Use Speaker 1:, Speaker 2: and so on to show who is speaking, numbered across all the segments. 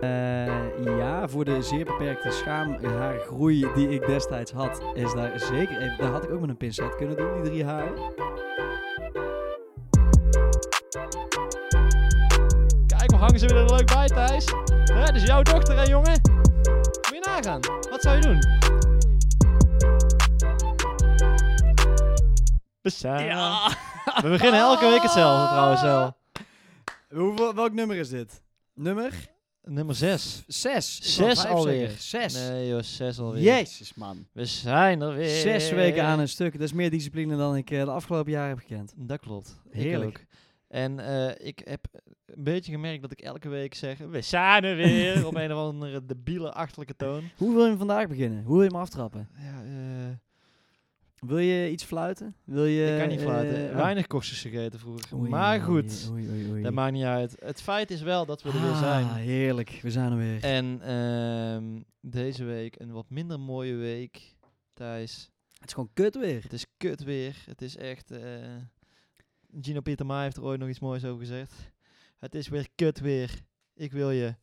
Speaker 1: Eh, ja, voor de zeer beperkte schaamhaargroei die ik destijds had, is daar zeker even... Daar had ik ook met een pincet kunnen doen, die drie haren.
Speaker 2: Kijk, we hangen ze weer er leuk bij, Thijs. Hè, dit is jouw dochter, hè, jongen? Moet je nagaan. Wat zou je doen? Bestaan. We beginnen elke week hetzelfde, trouwens wel.
Speaker 1: Hoeveel, welk nummer is dit? Nummer
Speaker 2: Nummer 6.
Speaker 1: zes. Ik wou
Speaker 2: Zes
Speaker 1: vijf
Speaker 2: alweer.
Speaker 1: zeggen. Zes.
Speaker 2: Nee, joh, 6 alweer.
Speaker 1: Jezus, man.
Speaker 2: We zijn er weer.
Speaker 1: Zes weken aan een stuk. Dat is meer discipline dan ik eh, de afgelopen jaren heb gekend.
Speaker 2: Dat klopt.
Speaker 1: Heerlijk.
Speaker 2: Ik ook. En eh, ik heb een beetje gemerkt dat ik elke week zeg, we zijn er weer, op een of andere debiele achterlijke toon.
Speaker 1: Hoe wil je hem vandaag beginnen? Hoe wil je hem aftrappen?
Speaker 2: Ja, eh,
Speaker 1: Wil je iets fluiten? Wil je,
Speaker 2: ik kan niet
Speaker 1: eh,
Speaker 2: fluiten.
Speaker 1: oh.
Speaker 2: Weinig kostjes gegeten vroeger.
Speaker 1: Oei,
Speaker 2: maar goed,
Speaker 1: Oei, oei, oei.
Speaker 2: dat maakt niet uit. Het feit is wel dat we er weer
Speaker 1: Ah,
Speaker 2: zijn.
Speaker 1: heerlijk. We zijn er weer.
Speaker 2: En ehm, deze week een wat minder mooie week, Thijs.
Speaker 1: Het is gewoon kut weer.
Speaker 2: Het is kut weer. Het is echt... eh, Gino Pieterma heeft er ooit nog iets moois over gezegd. Het is weer kut weer. Ik wil je.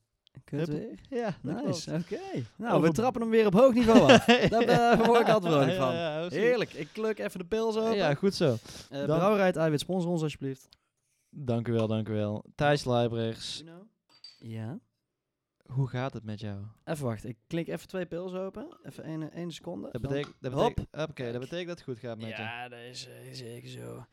Speaker 1: Kut
Speaker 2: Hup.
Speaker 1: weer.
Speaker 2: Ja, dat klopt.
Speaker 1: Nice, oké. Nou, we
Speaker 2: Over-
Speaker 1: trappen hem weer op hoog niveau af. Daar
Speaker 2: Ja.
Speaker 1: eh, word ik altijd vrolijk
Speaker 2: Ja,
Speaker 1: van.
Speaker 2: ja, heel goed.
Speaker 1: Heerlijk. Ik kluk even de pils open.
Speaker 2: Ja,
Speaker 1: Ja,
Speaker 2: goed zo. dan-
Speaker 1: Brouwerij het Eiwit, sponsor ons alsjeblieft.
Speaker 2: Dank u wel, dank u wel. Thijs Leibrechts,
Speaker 1: Ja.
Speaker 2: hoe gaat het met jou?
Speaker 1: Even wachten. Ik klik even twee pils open. Even één, eh, één seconde.
Speaker 2: Dat
Speaker 1: Dan-
Speaker 2: betekent, dat
Speaker 1: Hop.
Speaker 2: betekent, hoppakee, dat betekent dat het goed gaat met je.
Speaker 1: Ja, dat is eh, zeker zo.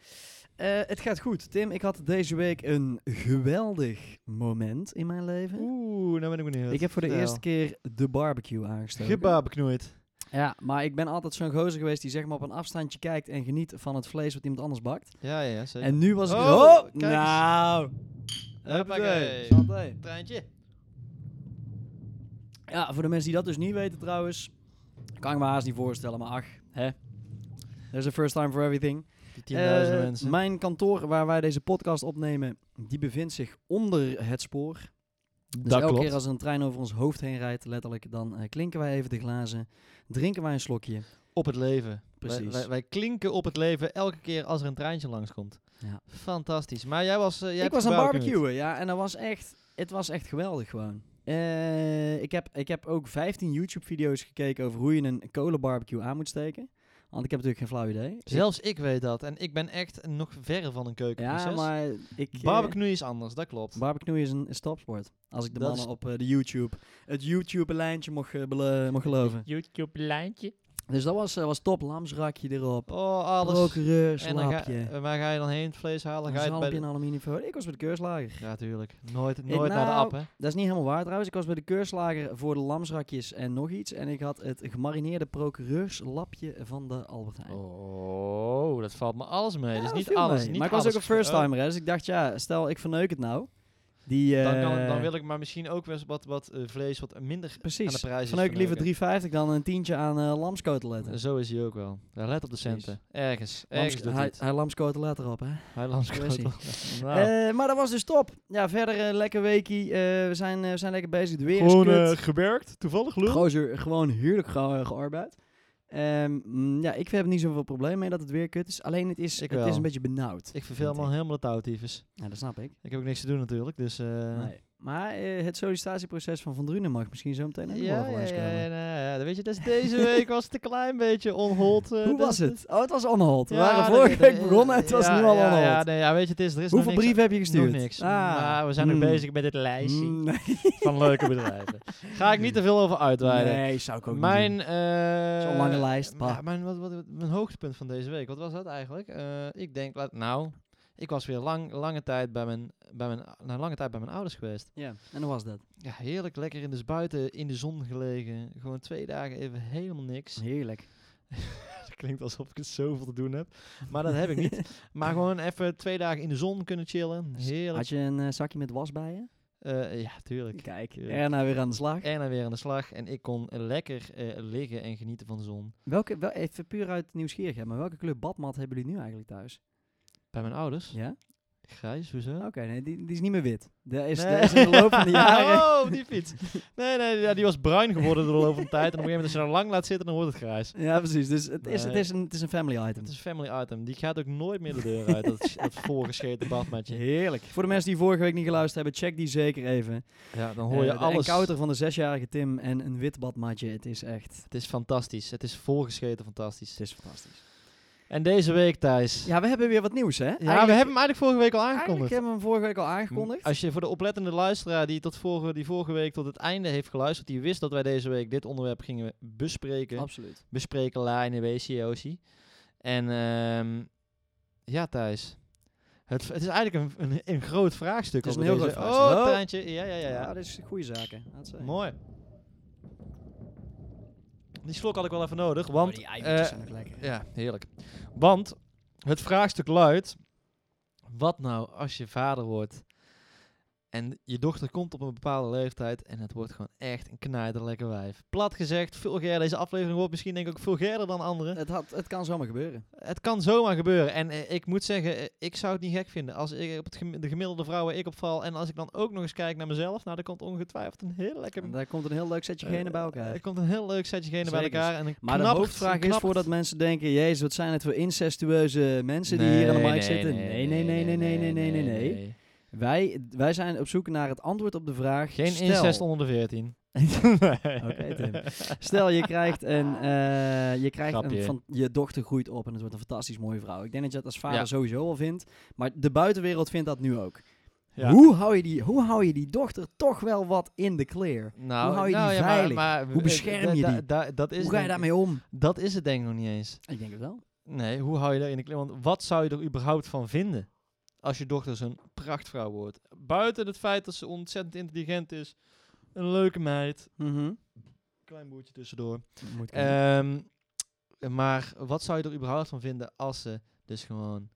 Speaker 1: Eh, het gaat goed. Tim, ik had deze week een geweldig moment in mijn leven.
Speaker 2: Oeh, nou ben ik benieuwd.
Speaker 1: Ik heb voor de eerste keer de barbecue aangestoken.
Speaker 2: Gebabeknoeid.
Speaker 1: Ja, maar ik ben altijd zo'n gozer geweest die zeg maar op een afstandje kijkt en geniet van het vlees wat iemand anders bakt.
Speaker 2: Ja, ja, zeker.
Speaker 1: En nu was ik...
Speaker 2: Oh,
Speaker 1: Oh,
Speaker 2: kijk eens.
Speaker 1: nou.
Speaker 2: Hoppakee.
Speaker 1: Santé.
Speaker 2: Treintje.
Speaker 1: Ja, voor de mensen die dat dus niet weten trouwens, kan ik me haast niet voorstellen, maar ach, hè. There's a first time for everything.
Speaker 2: Die 10.000
Speaker 1: Eh,
Speaker 2: mensen.
Speaker 1: Mijn kantoor waar wij deze podcast opnemen, die bevindt zich onder het spoor. Dus elke keer als er een trein over ons hoofd heen rijdt, letterlijk, dan eh, klinken wij even de glazen, drinken wij een slokje.
Speaker 2: Op het leven.
Speaker 1: Precies.
Speaker 2: Wij, wij, wij klinken op het leven elke keer als er een treintje langskomt.
Speaker 1: Ja.
Speaker 2: Fantastisch. Maar jij was... eh, jij
Speaker 1: ik
Speaker 2: hebt
Speaker 1: was aan
Speaker 2: gebarbeknoeid.
Speaker 1: barbecuen, ja, en dat was echt, het was echt geweldig gewoon. Eh, ik, heb, ik heb ook 15 YouTube-video's gekeken over hoe je een kolenbarbecue aan moet steken. Want ik heb natuurlijk geen flauw idee.
Speaker 2: Zelfs ik weet dat. En ik ben echt nog verre van een keukenprinses.
Speaker 1: Ja, maar ik... eh,
Speaker 2: Barbecue is anders, dat klopt.
Speaker 1: Barbecue is een, een stopsport. Als ik de
Speaker 2: Dat
Speaker 1: mannen op eh, de YouTube, het YouTube-lijntje mocht, eh, bele- mocht geloven.
Speaker 2: YouTube-lijntje.
Speaker 1: Dus dat was, eh, was top. Lamsrakje erop.
Speaker 2: Oh, alles.
Speaker 1: Procureurs,
Speaker 2: dan ga,
Speaker 1: lapje.
Speaker 2: eh, waar ga je dan heen? Het vlees halen? Ga je het bij
Speaker 1: Zalmpje
Speaker 2: de-
Speaker 1: en aluminiumfolie. Ik was bij de keurslager.
Speaker 2: Ja, tuurlijk. Nooit, nooit naar de
Speaker 1: nou,
Speaker 2: app, hè?
Speaker 1: Dat is niet helemaal waar trouwens. Ik was bij de keurslager voor de lamsrakjes en nog iets. En ik had het gemarineerde procureurslapje van de Albert Heijn.
Speaker 2: Oh, dat valt me alles mee.
Speaker 1: Ja,
Speaker 2: dus
Speaker 1: dat
Speaker 2: niet
Speaker 1: viel
Speaker 2: alles.
Speaker 1: mee.
Speaker 2: Niet
Speaker 1: maar ik was ook
Speaker 2: alles.
Speaker 1: een first-timer, hè. Dus ik dacht, ja, stel ik verneuk het nou. Die,
Speaker 2: Oh, dan, kan,
Speaker 1: eh,
Speaker 2: dan wil ik maar misschien ook wel eens wat, wat eh, vlees wat minder aan de
Speaker 1: Precies.
Speaker 2: prijs is
Speaker 1: Verneuk ik liever
Speaker 2: verneuken.
Speaker 1: 3,50 dan een tientje aan eh lamskoteletten.
Speaker 2: Zo is hij ook wel. Ja, let op de
Speaker 1: Precies.
Speaker 2: centen. Ergens.
Speaker 1: Lams,
Speaker 2: Ergens doet hij
Speaker 1: hij,
Speaker 2: het.
Speaker 1: hij lamskoteletten erop, hè.
Speaker 2: Hij lamskoot.
Speaker 1: Daar
Speaker 2: Nou,
Speaker 1: Eh, maar dat was dus top. Ja, verder eh, lekker weekie. Eh, we, zijn, eh, we zijn lekker bezig. De weer
Speaker 2: gewoon
Speaker 1: is
Speaker 2: eh,
Speaker 1: kut.
Speaker 2: gewerkt. Toevallig leuk.
Speaker 1: Gozer, gewoon heerlijk ge eh, gearbeid. Ehm, mm, ja, ik heb niet zoveel probleem mee dat het weer kut is. Alleen het is,
Speaker 2: Ik
Speaker 1: het
Speaker 2: wel.
Speaker 1: is een beetje benauwd.
Speaker 2: Ik verveel me
Speaker 1: Vind
Speaker 2: al helemaal de touwtyfus.
Speaker 1: Ja, dat snap ik.
Speaker 2: Ik heb ook niks te doen natuurlijk, dus... eh,
Speaker 1: Nee. Maar eh, het sollicitatieproces van Van Drunen mag misschien zo meteen helemaal
Speaker 2: Ja, ja,
Speaker 1: wel eens
Speaker 2: ja,
Speaker 1: komen.
Speaker 2: ja, nou ja, dan weet je, dus deze week was het een klein beetje onhold. eh, dus-
Speaker 1: Hoe was het? Oh, het was on hold. We
Speaker 2: Ja,
Speaker 1: waren
Speaker 2: dat-
Speaker 1: vorige
Speaker 2: dat-
Speaker 1: week begonnen en het was
Speaker 2: ja,
Speaker 1: nu al on
Speaker 2: ja,
Speaker 1: hold.
Speaker 2: Ja, nee, ja, weet je, het is, er is
Speaker 1: Hoeveel
Speaker 2: nog niks,
Speaker 1: brieven heb je gestuurd?
Speaker 2: Nog niks.
Speaker 1: Ah,
Speaker 2: Maar we zijn nog
Speaker 1: mm.
Speaker 2: bezig met dit lijstje
Speaker 1: Mm, nee.
Speaker 2: van leuke bedrijven. Ga ik niet te veel over uitweiden.
Speaker 1: Nee, zou ik ook
Speaker 2: mijn,
Speaker 1: niet
Speaker 2: eh,
Speaker 1: Zo'n lange lijst,
Speaker 2: m-
Speaker 1: bah.
Speaker 2: ja, mijn, wat, wat, wat- mijn hoogtepunt van deze week, wat was dat eigenlijk? Eh, ik denk, laat, nou, ik was weer lang, lange, tijd bij mijn, bij mijn, nou, lange tijd bij mijn ouders geweest.
Speaker 1: doen. Ja, en hoe was dat?
Speaker 2: Ja, heerlijk, lekker in de buiten in de zon gelegen. Gewoon twee dagen even helemaal niks.
Speaker 1: Heerlijk.
Speaker 2: Het klinkt alsof ik het zoveel te doen heb. Maar dat heb ik niet. Maar gewoon even twee dagen in de zon kunnen chillen. Heerlijk.
Speaker 1: Had je een eh, zakje met was bij je?
Speaker 2: Eh, ja, tuurlijk.
Speaker 1: Kijk,
Speaker 2: tuurlijk.
Speaker 1: Erna weer aan de slag.
Speaker 2: Erna weer aan de slag. En ik kon lekker eh, liggen en genieten van de zon.
Speaker 1: Welke, wel, even puur uit nieuwsgierigheid, maar welke kleur badmat hebben jullie nu eigenlijk thuis?
Speaker 2: Bij mijn ouders.
Speaker 1: Ja?
Speaker 2: Grijs, hoezo?
Speaker 1: Oké, nee, die, die is niet meer wit. De Oh, is,
Speaker 2: Nee.
Speaker 1: de is in de loop van de jaren...
Speaker 2: oh, die fiets. Nee, nee, ja, die was bruin geworden door de loop van de tijd. En op een gegeven moment, als je nou lang laat zitten, dan wordt het grijs.
Speaker 1: Ja, precies. Dus het is, het
Speaker 2: Nee.
Speaker 1: is, een, het is een family item.
Speaker 2: Het is een family item. Die gaat ook nooit meer de deur uit, dat, dat voorgescheten badmatje.
Speaker 1: Heerlijk. Voor de mensen die vorige week niet geluisterd hebben, check die zeker even.
Speaker 2: Ja, dan hoor je
Speaker 1: Eh, de
Speaker 2: alles.
Speaker 1: encounter van de zesjarige Tim en een wit badmatje. Het is echt...
Speaker 2: Het is fantastisch. Het is voorgescheten fantastisch.
Speaker 1: Het is fantastisch.
Speaker 2: En deze week, Thijs. Ja,
Speaker 1: Ja, we hebben weer wat nieuws, hè? Ja,
Speaker 2: we hebben hem eigenlijk vorige week al
Speaker 1: Eigenlijk
Speaker 2: aangekondigd. Mm,
Speaker 1: hebben we hem vorige week al aangekondigd.
Speaker 2: Als je voor de oplettende luisteraar die, tot vorige, die vorige week tot het einde heeft geluisterd, die wist dat wij deze week dit onderwerp gingen bespreken.
Speaker 1: Absoluut.
Speaker 2: bespreken La in de WCOC. En ehm, ja, Thijs. Het, het is eigenlijk een, een, een groot vraagstuk.
Speaker 1: Het is
Speaker 2: over
Speaker 1: een heel
Speaker 2: deze-
Speaker 1: groot vraagstuk.
Speaker 2: Oh,
Speaker 1: Oh.
Speaker 2: treintje. Ja, ja, ja. ja.
Speaker 1: Ja, dit is eh, goede zaken. laat zeggen.
Speaker 2: Mooi. Die slok had ik wel even nodig,
Speaker 1: Oh,
Speaker 2: want...
Speaker 1: die eiwitjes
Speaker 2: eh,
Speaker 1: zijn ook lekker.
Speaker 2: ja, heerlijk. Want het vraagstuk luidt... Wat nou als je vader wordt en je dochter komt op een bepaalde leeftijd en het wordt gewoon echt een knijterlekker wijf. Plat gezegd, vulgair. Deze aflevering wordt misschien denk ik ook vulgairder dan andere.
Speaker 1: Het, had, het kan zomaar gebeuren.
Speaker 2: Het kan zomaar gebeuren. En eh, ik moet zeggen, eh, ik zou het niet gek vinden als ik op het gem- de gemiddelde vrouwen ik opval. En als ik dan ook nog eens kijk naar mezelf, nou dan komt ongetwijfeld een heel lekker...
Speaker 1: En daar komt een heel leuk
Speaker 2: Eh,
Speaker 1: setje genen bij elkaar.
Speaker 2: Er komt een heel leuk setje genen bij
Speaker 1: Zeker.
Speaker 2: elkaar. En een
Speaker 1: maar de
Speaker 2: knappert-
Speaker 1: hoofdvraag is
Speaker 2: knappert-
Speaker 1: voordat mensen denken... Jezus, wat zijn het voor incestueuze mensen die hier aan de mic zitten? Nee, nee, nee, nee, nee, nee, nee, nee, nee. Wij, wij zijn op zoek naar het antwoord op de vraag...
Speaker 2: Geen
Speaker 1: stel,
Speaker 2: incest onder de 14.
Speaker 1: Oké, Tim. Stel, je krijgt, een, eh, je, krijgt een
Speaker 2: Grapje.
Speaker 1: van, je dochter groeit op en het wordt een fantastisch mooie vrouw. Ik denk dat je dat als vader
Speaker 2: Ja.
Speaker 1: sowieso al vindt. Maar de buitenwereld vindt dat nu ook.
Speaker 2: Ja.
Speaker 1: Hoe, hou je die, hoe hou je die dochter toch wel wat in de kleer?
Speaker 2: Nou,
Speaker 1: Hoe hou je
Speaker 2: nou,
Speaker 1: die
Speaker 2: ja, maar-
Speaker 1: veilig?
Speaker 2: maar-
Speaker 1: Hoe bescherm je
Speaker 2: da-
Speaker 1: die?
Speaker 2: da- da- dat is
Speaker 1: Hoe ga je
Speaker 2: denk-
Speaker 1: daarmee om?
Speaker 2: Dat is het denk ik nog niet eens.
Speaker 1: Ik denk het wel.
Speaker 2: Nee, hoe hou je daar in de klem? Want wat zou je er überhaupt van vinden als je dochter zo'n prachtvrouw wordt? Buiten het feit dat ze ontzettend intelligent is, een leuke meid,
Speaker 1: Mhm.
Speaker 2: klein boertje tussendoor.
Speaker 1: Moet kunnen.
Speaker 2: Ehm, maar wat zou je er überhaupt van vinden als ze dus gewoon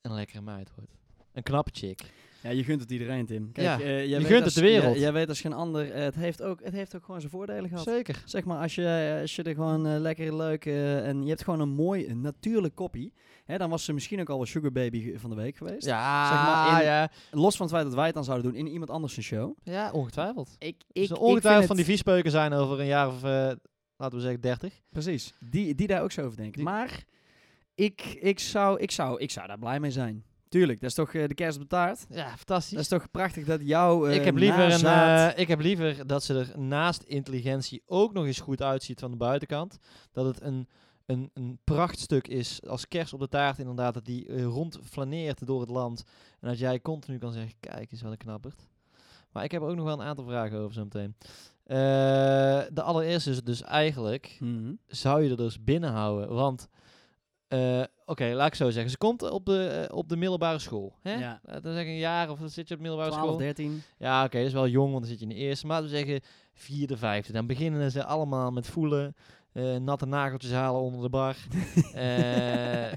Speaker 2: een lekkere meid wordt? Een knappe chick.
Speaker 1: ja, je gunt het iedereen, Tim. Kijk,
Speaker 2: ja,
Speaker 1: eh, jij
Speaker 2: je
Speaker 1: weet
Speaker 2: gunt
Speaker 1: als-
Speaker 2: het de wereld.
Speaker 1: Jij, jij weet als geen ander, eh, het, heeft ook, het heeft ook gewoon zijn voordelen gehad.
Speaker 2: Zeker.
Speaker 1: Zeg maar, als je, als je er gewoon eh, lekker leuk eh, en je hebt gewoon een mooi, een natuurlijk koppie, hè, dan was ze misschien ook al wel Sugar Baby ge- van de week geweest.
Speaker 2: Ja,
Speaker 1: Zeg maar in-
Speaker 2: ja.
Speaker 1: Los van het feit dat wij het dan zouden doen in iemand anders zijn show. Dus
Speaker 2: ja, ongetwijfeld.
Speaker 1: Ik,
Speaker 2: Ik, zal ongetwijfeld van die viespeuken zijn over een jaar of, eh, laten we zeggen, 30.
Speaker 1: Precies, die, die daar ook zo over denken.
Speaker 2: Die-
Speaker 1: Maar ik, ik, zou, ik, zou, ik zou daar blij mee zijn. Tuurlijk, dat is toch eh, de kerst op de taart.
Speaker 2: Ja,
Speaker 1: Dat
Speaker 2: fantastisch.
Speaker 1: is toch prachtig dat jouw eh,
Speaker 2: ik, heb liever een,
Speaker 1: nazaat-
Speaker 2: eh, ik heb liever dat ze er naast intelligentie ook nog eens goed uitziet van de buitenkant. Dat het een, een, een prachtstuk is als kerst op de taart inderdaad. Dat die eh, rondflaneert door het land. En dat jij continu kan zeggen, kijk eens wat een knapperd. Maar ik heb er ook nog wel een aantal vragen over zo meteen. Eh, de allereerste is dus eigenlijk,
Speaker 1: Mhm.
Speaker 2: zou je er dus binnenhouden? Want, eh, oké, laat ik zo zeggen. Ze komt op de, eh, op de middelbare school. Hè?
Speaker 1: Ja.
Speaker 2: Laten we zeggen een jaar of dan zit je op de middelbare
Speaker 1: 12,
Speaker 2: school.
Speaker 1: 13.
Speaker 2: Ja, oké, dat is wel jong, want dan zit je in de eerste. Maar we zeggen vierde, vijfde. Dan beginnen ze allemaal met voelen. eh, natte nageltjes halen onder de bar. Eh,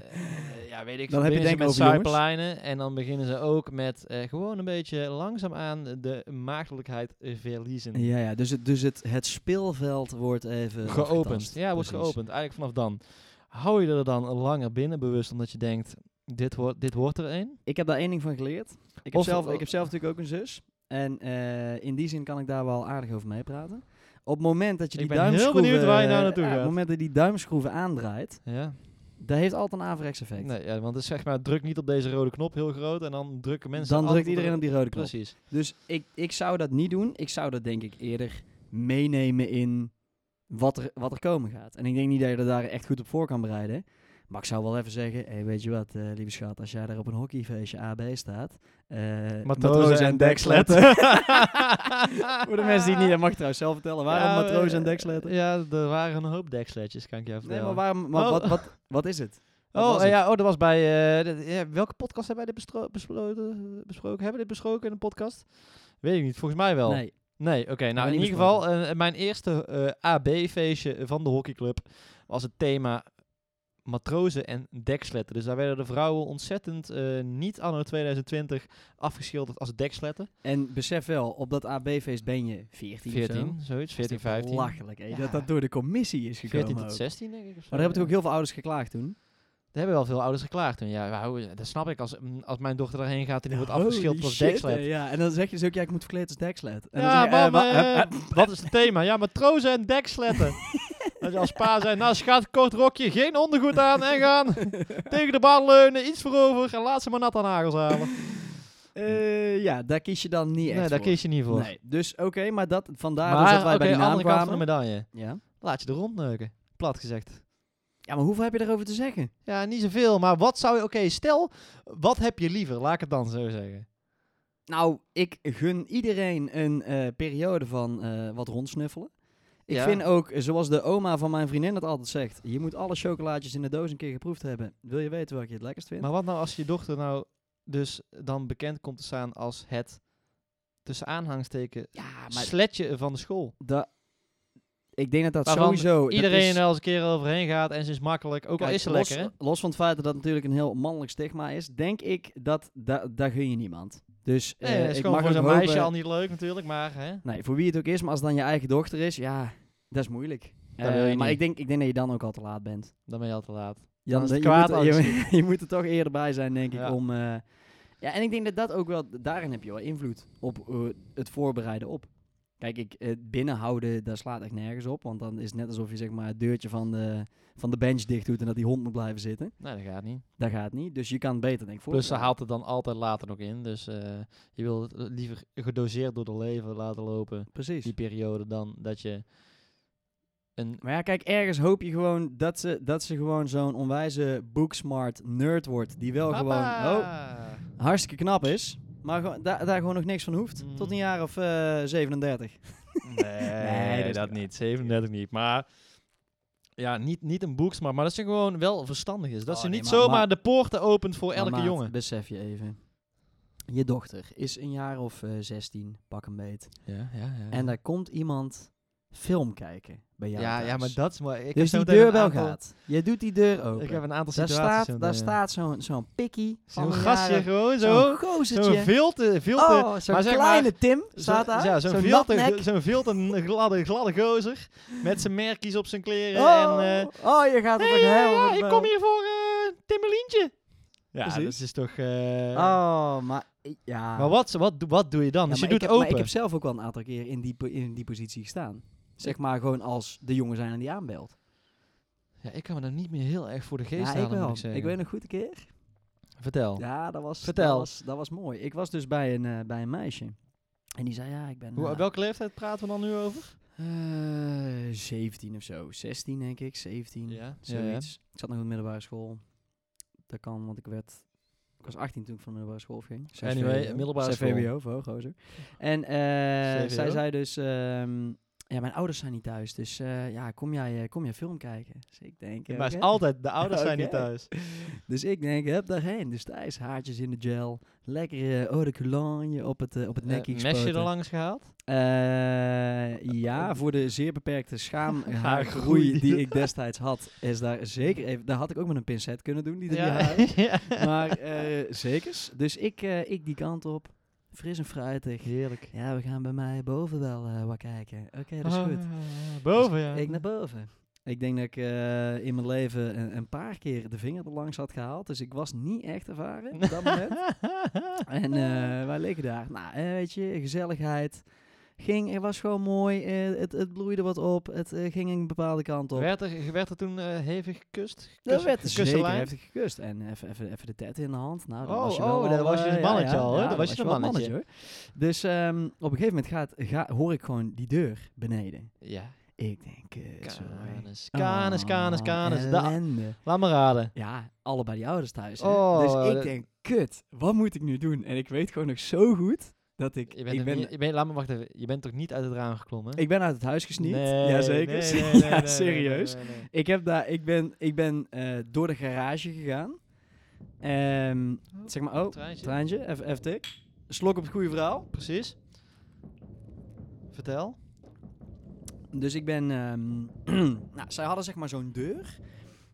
Speaker 2: ja, weet ik.
Speaker 1: Dan heb je
Speaker 2: beginnen ze
Speaker 1: denk ik
Speaker 2: met
Speaker 1: over jongens.
Speaker 2: zuiplijnen. En dan beginnen ze ook met eh, gewoon een beetje langzaamaan de maagdelijkheid eh, verliezen.
Speaker 1: Ja, ja dus, het, dus het, het speelveld wordt even
Speaker 2: geopend.
Speaker 1: afgetast.
Speaker 2: Ja, wordt
Speaker 1: Precies.
Speaker 2: geopend. Eigenlijk vanaf dan. Hou je er dan langer binnen, bewust, omdat je denkt, dit, wordt dit wordt er één?
Speaker 1: Ik heb daar één ding van geleerd. Ik heb,
Speaker 2: Of- oh.
Speaker 1: zelf, ik heb zelf natuurlijk ook een zus. En eh, in die zin kan ik daar wel aardig over meepraten. Op het moment dat je
Speaker 2: Ik
Speaker 1: die
Speaker 2: ben heel
Speaker 1: duimschroeven...
Speaker 2: benieuwd waar je nou
Speaker 1: eh,
Speaker 2: naartoe
Speaker 1: ja, Op
Speaker 2: gaat.
Speaker 1: het moment dat je die duimschroeven aandraait,
Speaker 2: Ja.
Speaker 1: dat heeft altijd een averechts effect.
Speaker 2: Nee, ja, want het is zeg maar, druk niet op deze rode knop heel groot en dan drukken mensen...
Speaker 1: Dan
Speaker 2: altijd
Speaker 1: drukt iedereen op die rode knop.
Speaker 2: Precies.
Speaker 1: Dus ik, ik zou dat niet doen. Ik zou dat denk ik eerder meenemen in wat er, wat er komen gaat. En ik denk niet dat je er daar echt goed op voor kan bereiden. Maar ik zou wel even zeggen, hey, weet je wat, eh, lieve schat, als jij daar op een hockeyfeestje AB staat... eh matrozen en dekslet. Voor de mensen die het niet, dat mag ik trouwens zelf vertellen. Waarom
Speaker 2: Ja,
Speaker 1: matrozen en
Speaker 2: eh,
Speaker 1: deksletten?
Speaker 2: Ja, er waren een hoop deksletjes, kan ik je
Speaker 1: Nee,
Speaker 2: vertellen.
Speaker 1: maar, waarom, maar
Speaker 2: Oh.
Speaker 1: wat, wat, wat is het? wat
Speaker 2: oh,
Speaker 1: was
Speaker 2: eh,
Speaker 1: het?
Speaker 2: ja, oh, dat was bij... eh, dat- ja, welke podcast hebben wij dit bestro- besloten, besproken? Hebben we dit besproken in een podcast? Weet ik niet, volgens mij wel.
Speaker 1: Nee,
Speaker 2: Nee, oké. nou,
Speaker 1: we
Speaker 2: in
Speaker 1: niet
Speaker 2: ieder geval, eh, mijn eerste eh, AB-feestje van de hockeyclub was het thema matrozen en deksletten. Dus daar werden de vrouwen ontzettend eh, niet anno 2020 afgeschilderd als deksletten.
Speaker 1: en besef wel, op dat AB-feest ben je 14, 14
Speaker 2: 14, zoiets. 14, 15.
Speaker 1: Lachelijk, hè,
Speaker 2: Ja.
Speaker 1: dat dat door de commissie is gekomen
Speaker 2: 14
Speaker 1: ook.
Speaker 2: tot 16, denk ik. of zo,
Speaker 1: Maar daar hebben
Speaker 2: ja.
Speaker 1: natuurlijk heel veel ouders geklaagd toen.
Speaker 2: Er hebben wel veel ouders geklaagd. toen. Ja, wauw, dat snap ik. Als, mm, als mijn dochter erheen gaat en die wordt
Speaker 1: Holy
Speaker 2: afgeschilderd als
Speaker 1: shit,
Speaker 2: dekslet.
Speaker 1: hè, Ja, en dan zeg je ze ook, ja, ik moet verkleed als dekslet. En dan
Speaker 2: Ja,
Speaker 1: zeg je, eh,
Speaker 2: mam,
Speaker 1: wa-
Speaker 2: eh,
Speaker 1: hup, hup.
Speaker 2: wat is het thema? Ja, matrozen en deksletten. Dat je als pa zei, nou schat, kort rokje, geen ondergoed aan en gaan. Tegen de baan leunen, iets voorover en laat ze maar nat aan nagels halen.
Speaker 1: Eh, ja, daar kies je dan niet echt
Speaker 2: Nee, daar
Speaker 1: voor.
Speaker 2: kies je niet voor.
Speaker 1: Nee, dus oké, maar dat, vandaar
Speaker 2: maar
Speaker 1: dus dat wij
Speaker 2: oké,
Speaker 1: bij die naam
Speaker 2: andere kant van de
Speaker 1: kwamen.
Speaker 2: medaille.
Speaker 1: Ja.
Speaker 2: Laat je er rondneuken, plat gezegd.
Speaker 1: ja, maar hoeveel heb je daarover te zeggen?
Speaker 2: Ja, niet zoveel, maar wat zou je... Oké, stel, wat heb je liever? Laat ik het dan zo zeggen.
Speaker 1: Nou, ik gun iedereen een eh, periode van eh, wat rondsnuffelen. Ik
Speaker 2: Ja.
Speaker 1: vind ook, eh, zoals de oma van mijn vriendin het altijd zegt, je moet alle chocolaatjes in de doos een keer geproefd hebben. Wil je weten welke je het lekkerst vindt?
Speaker 2: Maar wat nou als je dochter nou dus dan bekend komt te staan als het... Tussen aanhangsteken,
Speaker 1: ja,
Speaker 2: sletje van de school.
Speaker 1: da- ik denk dat dat
Speaker 2: Waarvan
Speaker 1: sowieso... dat
Speaker 2: Iedereen
Speaker 1: is-
Speaker 2: er wel eens een keer overheen gaat en ze is makkelijk. Ook al
Speaker 1: Kijk,
Speaker 2: is ze
Speaker 1: los,
Speaker 2: lekker, hè?
Speaker 1: Los van het feit dat dat natuurlijk een heel mannelijk stigma is, denk ik dat da daar gun je niemand. Dus eh,
Speaker 2: Nee, dat is
Speaker 1: ik
Speaker 2: gewoon
Speaker 1: mag
Speaker 2: voor zo'n
Speaker 1: ook hopen-
Speaker 2: meisje al niet leuk natuurlijk, maar hè?
Speaker 1: Nee, voor wie het ook is, maar als het dan je eigen dochter is, ja, dat is moeilijk.
Speaker 2: Dat
Speaker 1: Eh,
Speaker 2: wil je
Speaker 1: maar
Speaker 2: niet.
Speaker 1: ik denk, ik denk dat je dan ook al te laat bent.
Speaker 2: dan ben je al te laat.
Speaker 1: Jan,
Speaker 2: is het
Speaker 1: je, moet,
Speaker 2: kwaad al
Speaker 1: je, je moet er toch eerder bij zijn, denk ik,
Speaker 2: Ja.
Speaker 1: om... eh, ja, en ik denk dat dat ook wel... Daarin heb je wel invloed op eh, het voorbereiden op. Kijk, ik, het binnenhouden, daar slaat echt nergens op. Want dan is het net alsof je zeg maar, het deurtje van de, van de bench dicht doet... en dat die hond moet blijven zitten.
Speaker 2: Nee, dat gaat niet.
Speaker 1: Dat gaat niet. Dus je kan het beter, denk ik,
Speaker 2: Plus ze
Speaker 1: voorbereiden.
Speaker 2: haalt het dan altijd later nog in. Dus eh, je wil het liever gedoseerd door de leven laten lopen,
Speaker 1: Precies.
Speaker 2: die periode, dan dat je een...
Speaker 1: Maar ja, kijk, ergens hoop je gewoon dat ze, dat ze gewoon zo'n onwijze booksmart nerd wordt. Die wel gewoon oh,
Speaker 2: Papa!
Speaker 1: hartstikke knap is. Maar gewoon- daar daar gewoon nog niks van hoeft.
Speaker 2: Mhm.
Speaker 1: Tot een jaar of eh, 37.
Speaker 2: Nee,
Speaker 1: Nee, dat
Speaker 2: dat,
Speaker 1: is niet
Speaker 2: niet. 37 niet, maar... Ja, niet, niet een boeksmart, maar dat ze gewoon wel verstandig is. Dat
Speaker 1: Oh,
Speaker 2: ze
Speaker 1: nee,
Speaker 2: niet
Speaker 1: maar-
Speaker 2: zomaar
Speaker 1: maar-
Speaker 2: de poorten opent voor elke
Speaker 1: Maar maat,
Speaker 2: jongen.
Speaker 1: besef je even. Je dochter is een jaar of eh, 16, pak een beet.
Speaker 2: Ja, ja, ja.
Speaker 1: En daar komt iemand film kijken bij jou
Speaker 2: ja,
Speaker 1: thuis.
Speaker 2: ja, maar dat is maar. Ik heb
Speaker 1: dus
Speaker 2: zo
Speaker 1: die
Speaker 2: meteen
Speaker 1: deur
Speaker 2: een
Speaker 1: wel
Speaker 2: aantal-
Speaker 1: gaat. Je doet die deur open.
Speaker 2: Ik heb een aantal
Speaker 1: daar
Speaker 2: situaties.
Speaker 1: staat,
Speaker 2: zo'n,
Speaker 1: daar
Speaker 2: eh,
Speaker 1: staat zo'n zo'n pikkie van
Speaker 2: Zo'n
Speaker 1: een
Speaker 2: gastje
Speaker 1: jaar-
Speaker 2: gewoon
Speaker 1: Zo'n
Speaker 2: zo. Zo'n
Speaker 1: gozertje.
Speaker 2: veel te, veel te,
Speaker 1: Oh, zo'n
Speaker 2: maar zeg
Speaker 1: kleine Tim staat
Speaker 2: zo'n-
Speaker 1: daar.
Speaker 2: Ja, zo'n
Speaker 1: zo'n
Speaker 2: veel te,
Speaker 1: natnek.
Speaker 2: zo'n veel te gladde, gladde gozer. Met zijn merkies op zijn kleren.
Speaker 1: Oh,
Speaker 2: En, eh,
Speaker 1: oh, je gaat er
Speaker 2: hey,
Speaker 1: nog
Speaker 2: ja,
Speaker 1: heel
Speaker 2: ja,
Speaker 1: erg
Speaker 2: ik
Speaker 1: bij.
Speaker 2: kom hier voor eh Timmerlientje. Ja,
Speaker 1: Precies.
Speaker 2: dat is toch... eh,
Speaker 1: Oh, maar ik- ja.
Speaker 2: Maar wat, wat, doe- wat doe je dan?
Speaker 1: Ja,
Speaker 2: dus je
Speaker 1: maar
Speaker 2: doet
Speaker 1: ik heb,
Speaker 2: open.
Speaker 1: Maar ik heb zelf ook wel een aantal keer in die, po- in die positie gestaan. Zeg maar gewoon als de jongen zijn en die aanbelt.
Speaker 2: ja, ik kan me dan niet meer heel erg voor de geest
Speaker 1: Ja, ik
Speaker 2: halen, moet
Speaker 1: wel.
Speaker 2: ik
Speaker 1: Ik,
Speaker 2: zeggen.
Speaker 1: weet nog goed een keer.
Speaker 2: Vertel.
Speaker 1: Ja, dat was,
Speaker 2: Vertel.
Speaker 1: Dat was, dat was mooi. Ik was dus bij een, eh, bij een meisje. En die zei, ja, ik ben...
Speaker 2: Hoe,
Speaker 1: eh,
Speaker 2: welke leeftijd praten we dan nu over?
Speaker 1: eh, 17 of zo. 16 denk ik, 17. Zoiets. Ik zat nog op de middelbare school. Dat kan, want ik werd... Ik was 18 toen ik van de middelbare school ging. Zes
Speaker 2: Anyway,
Speaker 1: VWO.
Speaker 2: middelbare
Speaker 1: Zes
Speaker 2: school.
Speaker 1: VWO, voor hooggozer. En eh, zij
Speaker 2: VWO.
Speaker 1: zei dus... ehm, ja, mijn ouders zijn niet thuis, dus eh, ja, kom jij, eh, kom jij film kijken? Dus ik denk...
Speaker 2: Maar het is
Speaker 1: oké.
Speaker 2: altijd, de ouders zijn niet
Speaker 1: Oké.
Speaker 2: thuis.
Speaker 1: Dus ik denk, heb daarheen. Dus thuis, haartjes in de gel. Lekker eh eau de cologne op het, eh, op het
Speaker 2: Eh,
Speaker 1: nekje
Speaker 2: mesje
Speaker 1: gespoten.
Speaker 2: er langs gehaald?
Speaker 1: Eh, ja, voor de zeer beperkte
Speaker 2: Haargroei.
Speaker 1: schaamhaargroei die ik destijds had, is daar zeker even... Daar had ik ook met een pincet kunnen doen, die drie
Speaker 2: Ja.
Speaker 1: haren. Maar eh zekers. Dus ik, eh, ik die kant op. Fris en fruitig.
Speaker 2: Heerlijk.
Speaker 1: Ja, we gaan bij mij boven wel eh, wat kijken. Oké, dat is goed. Dus
Speaker 2: Ah, boven, ja.
Speaker 1: Ik naar boven. Ik denk dat ik eh, in mijn leven een, een paar keer de vinger erlangs had gehaald. Dus ik was niet echt ervaren op dat moment. En eh, wij liggen daar. Nou, eh, weet je, gezelligheid. Ging, het was gewoon mooi. eh, het, het bloeide wat op. Het eh, ging een bepaalde kant op.
Speaker 2: werd, er, werd er toen eh, hevig gekust?
Speaker 1: Dat
Speaker 2: Gekust-
Speaker 1: werd dus
Speaker 2: gekuste
Speaker 1: zeker
Speaker 2: lijn?
Speaker 1: heeft gekust. En even, even, even de tet in de hand. Nou, dan
Speaker 2: Oh,
Speaker 1: was je
Speaker 2: oh,
Speaker 1: wel
Speaker 2: dan
Speaker 1: al,
Speaker 2: was je
Speaker 1: eh,
Speaker 2: een mannetje al, hè? Dan
Speaker 1: dan
Speaker 2: was je een
Speaker 1: wel
Speaker 2: mannetje.
Speaker 1: hoor. Dus ehm, op een gegeven moment gaat, ga, hoor ik gewoon die deur beneden.
Speaker 2: Ja.
Speaker 1: Ik denk, eh, zo, hey.
Speaker 2: Kanus, kanus, kanus,
Speaker 1: Oh,
Speaker 2: kanus. Da-
Speaker 1: ellende.
Speaker 2: Laat me raden.
Speaker 1: Ja, allebei die ouders thuis. hè.
Speaker 2: Oh,
Speaker 1: dus ik
Speaker 2: dat-
Speaker 1: denk, kut, wat moet ik nu doen? En ik weet gewoon nog zo goed dat ik...
Speaker 2: Je bent,
Speaker 1: ik,
Speaker 2: er
Speaker 1: ben,
Speaker 2: niet- je bent, laat me wachten. even. Je bent toch niet uit het raam geklommen?
Speaker 1: ik ben uit het huis gesniet.
Speaker 2: Nee,
Speaker 1: Jazeker.
Speaker 2: nee, nee, nee,
Speaker 1: ja,
Speaker 2: nee, nee,
Speaker 1: serieus.
Speaker 2: nee, nee, nee.
Speaker 1: Ik, heb daar, ik ben, ik ben eh, door de garage gegaan. Ehm, zeg maar, oh,
Speaker 2: Treintje.
Speaker 1: treintje, even even tik. Slok op het goede verhaal.
Speaker 2: Precies. Vertel.
Speaker 1: Dus ik ben. ehm, nou, zij hadden zeg maar zo'n deur.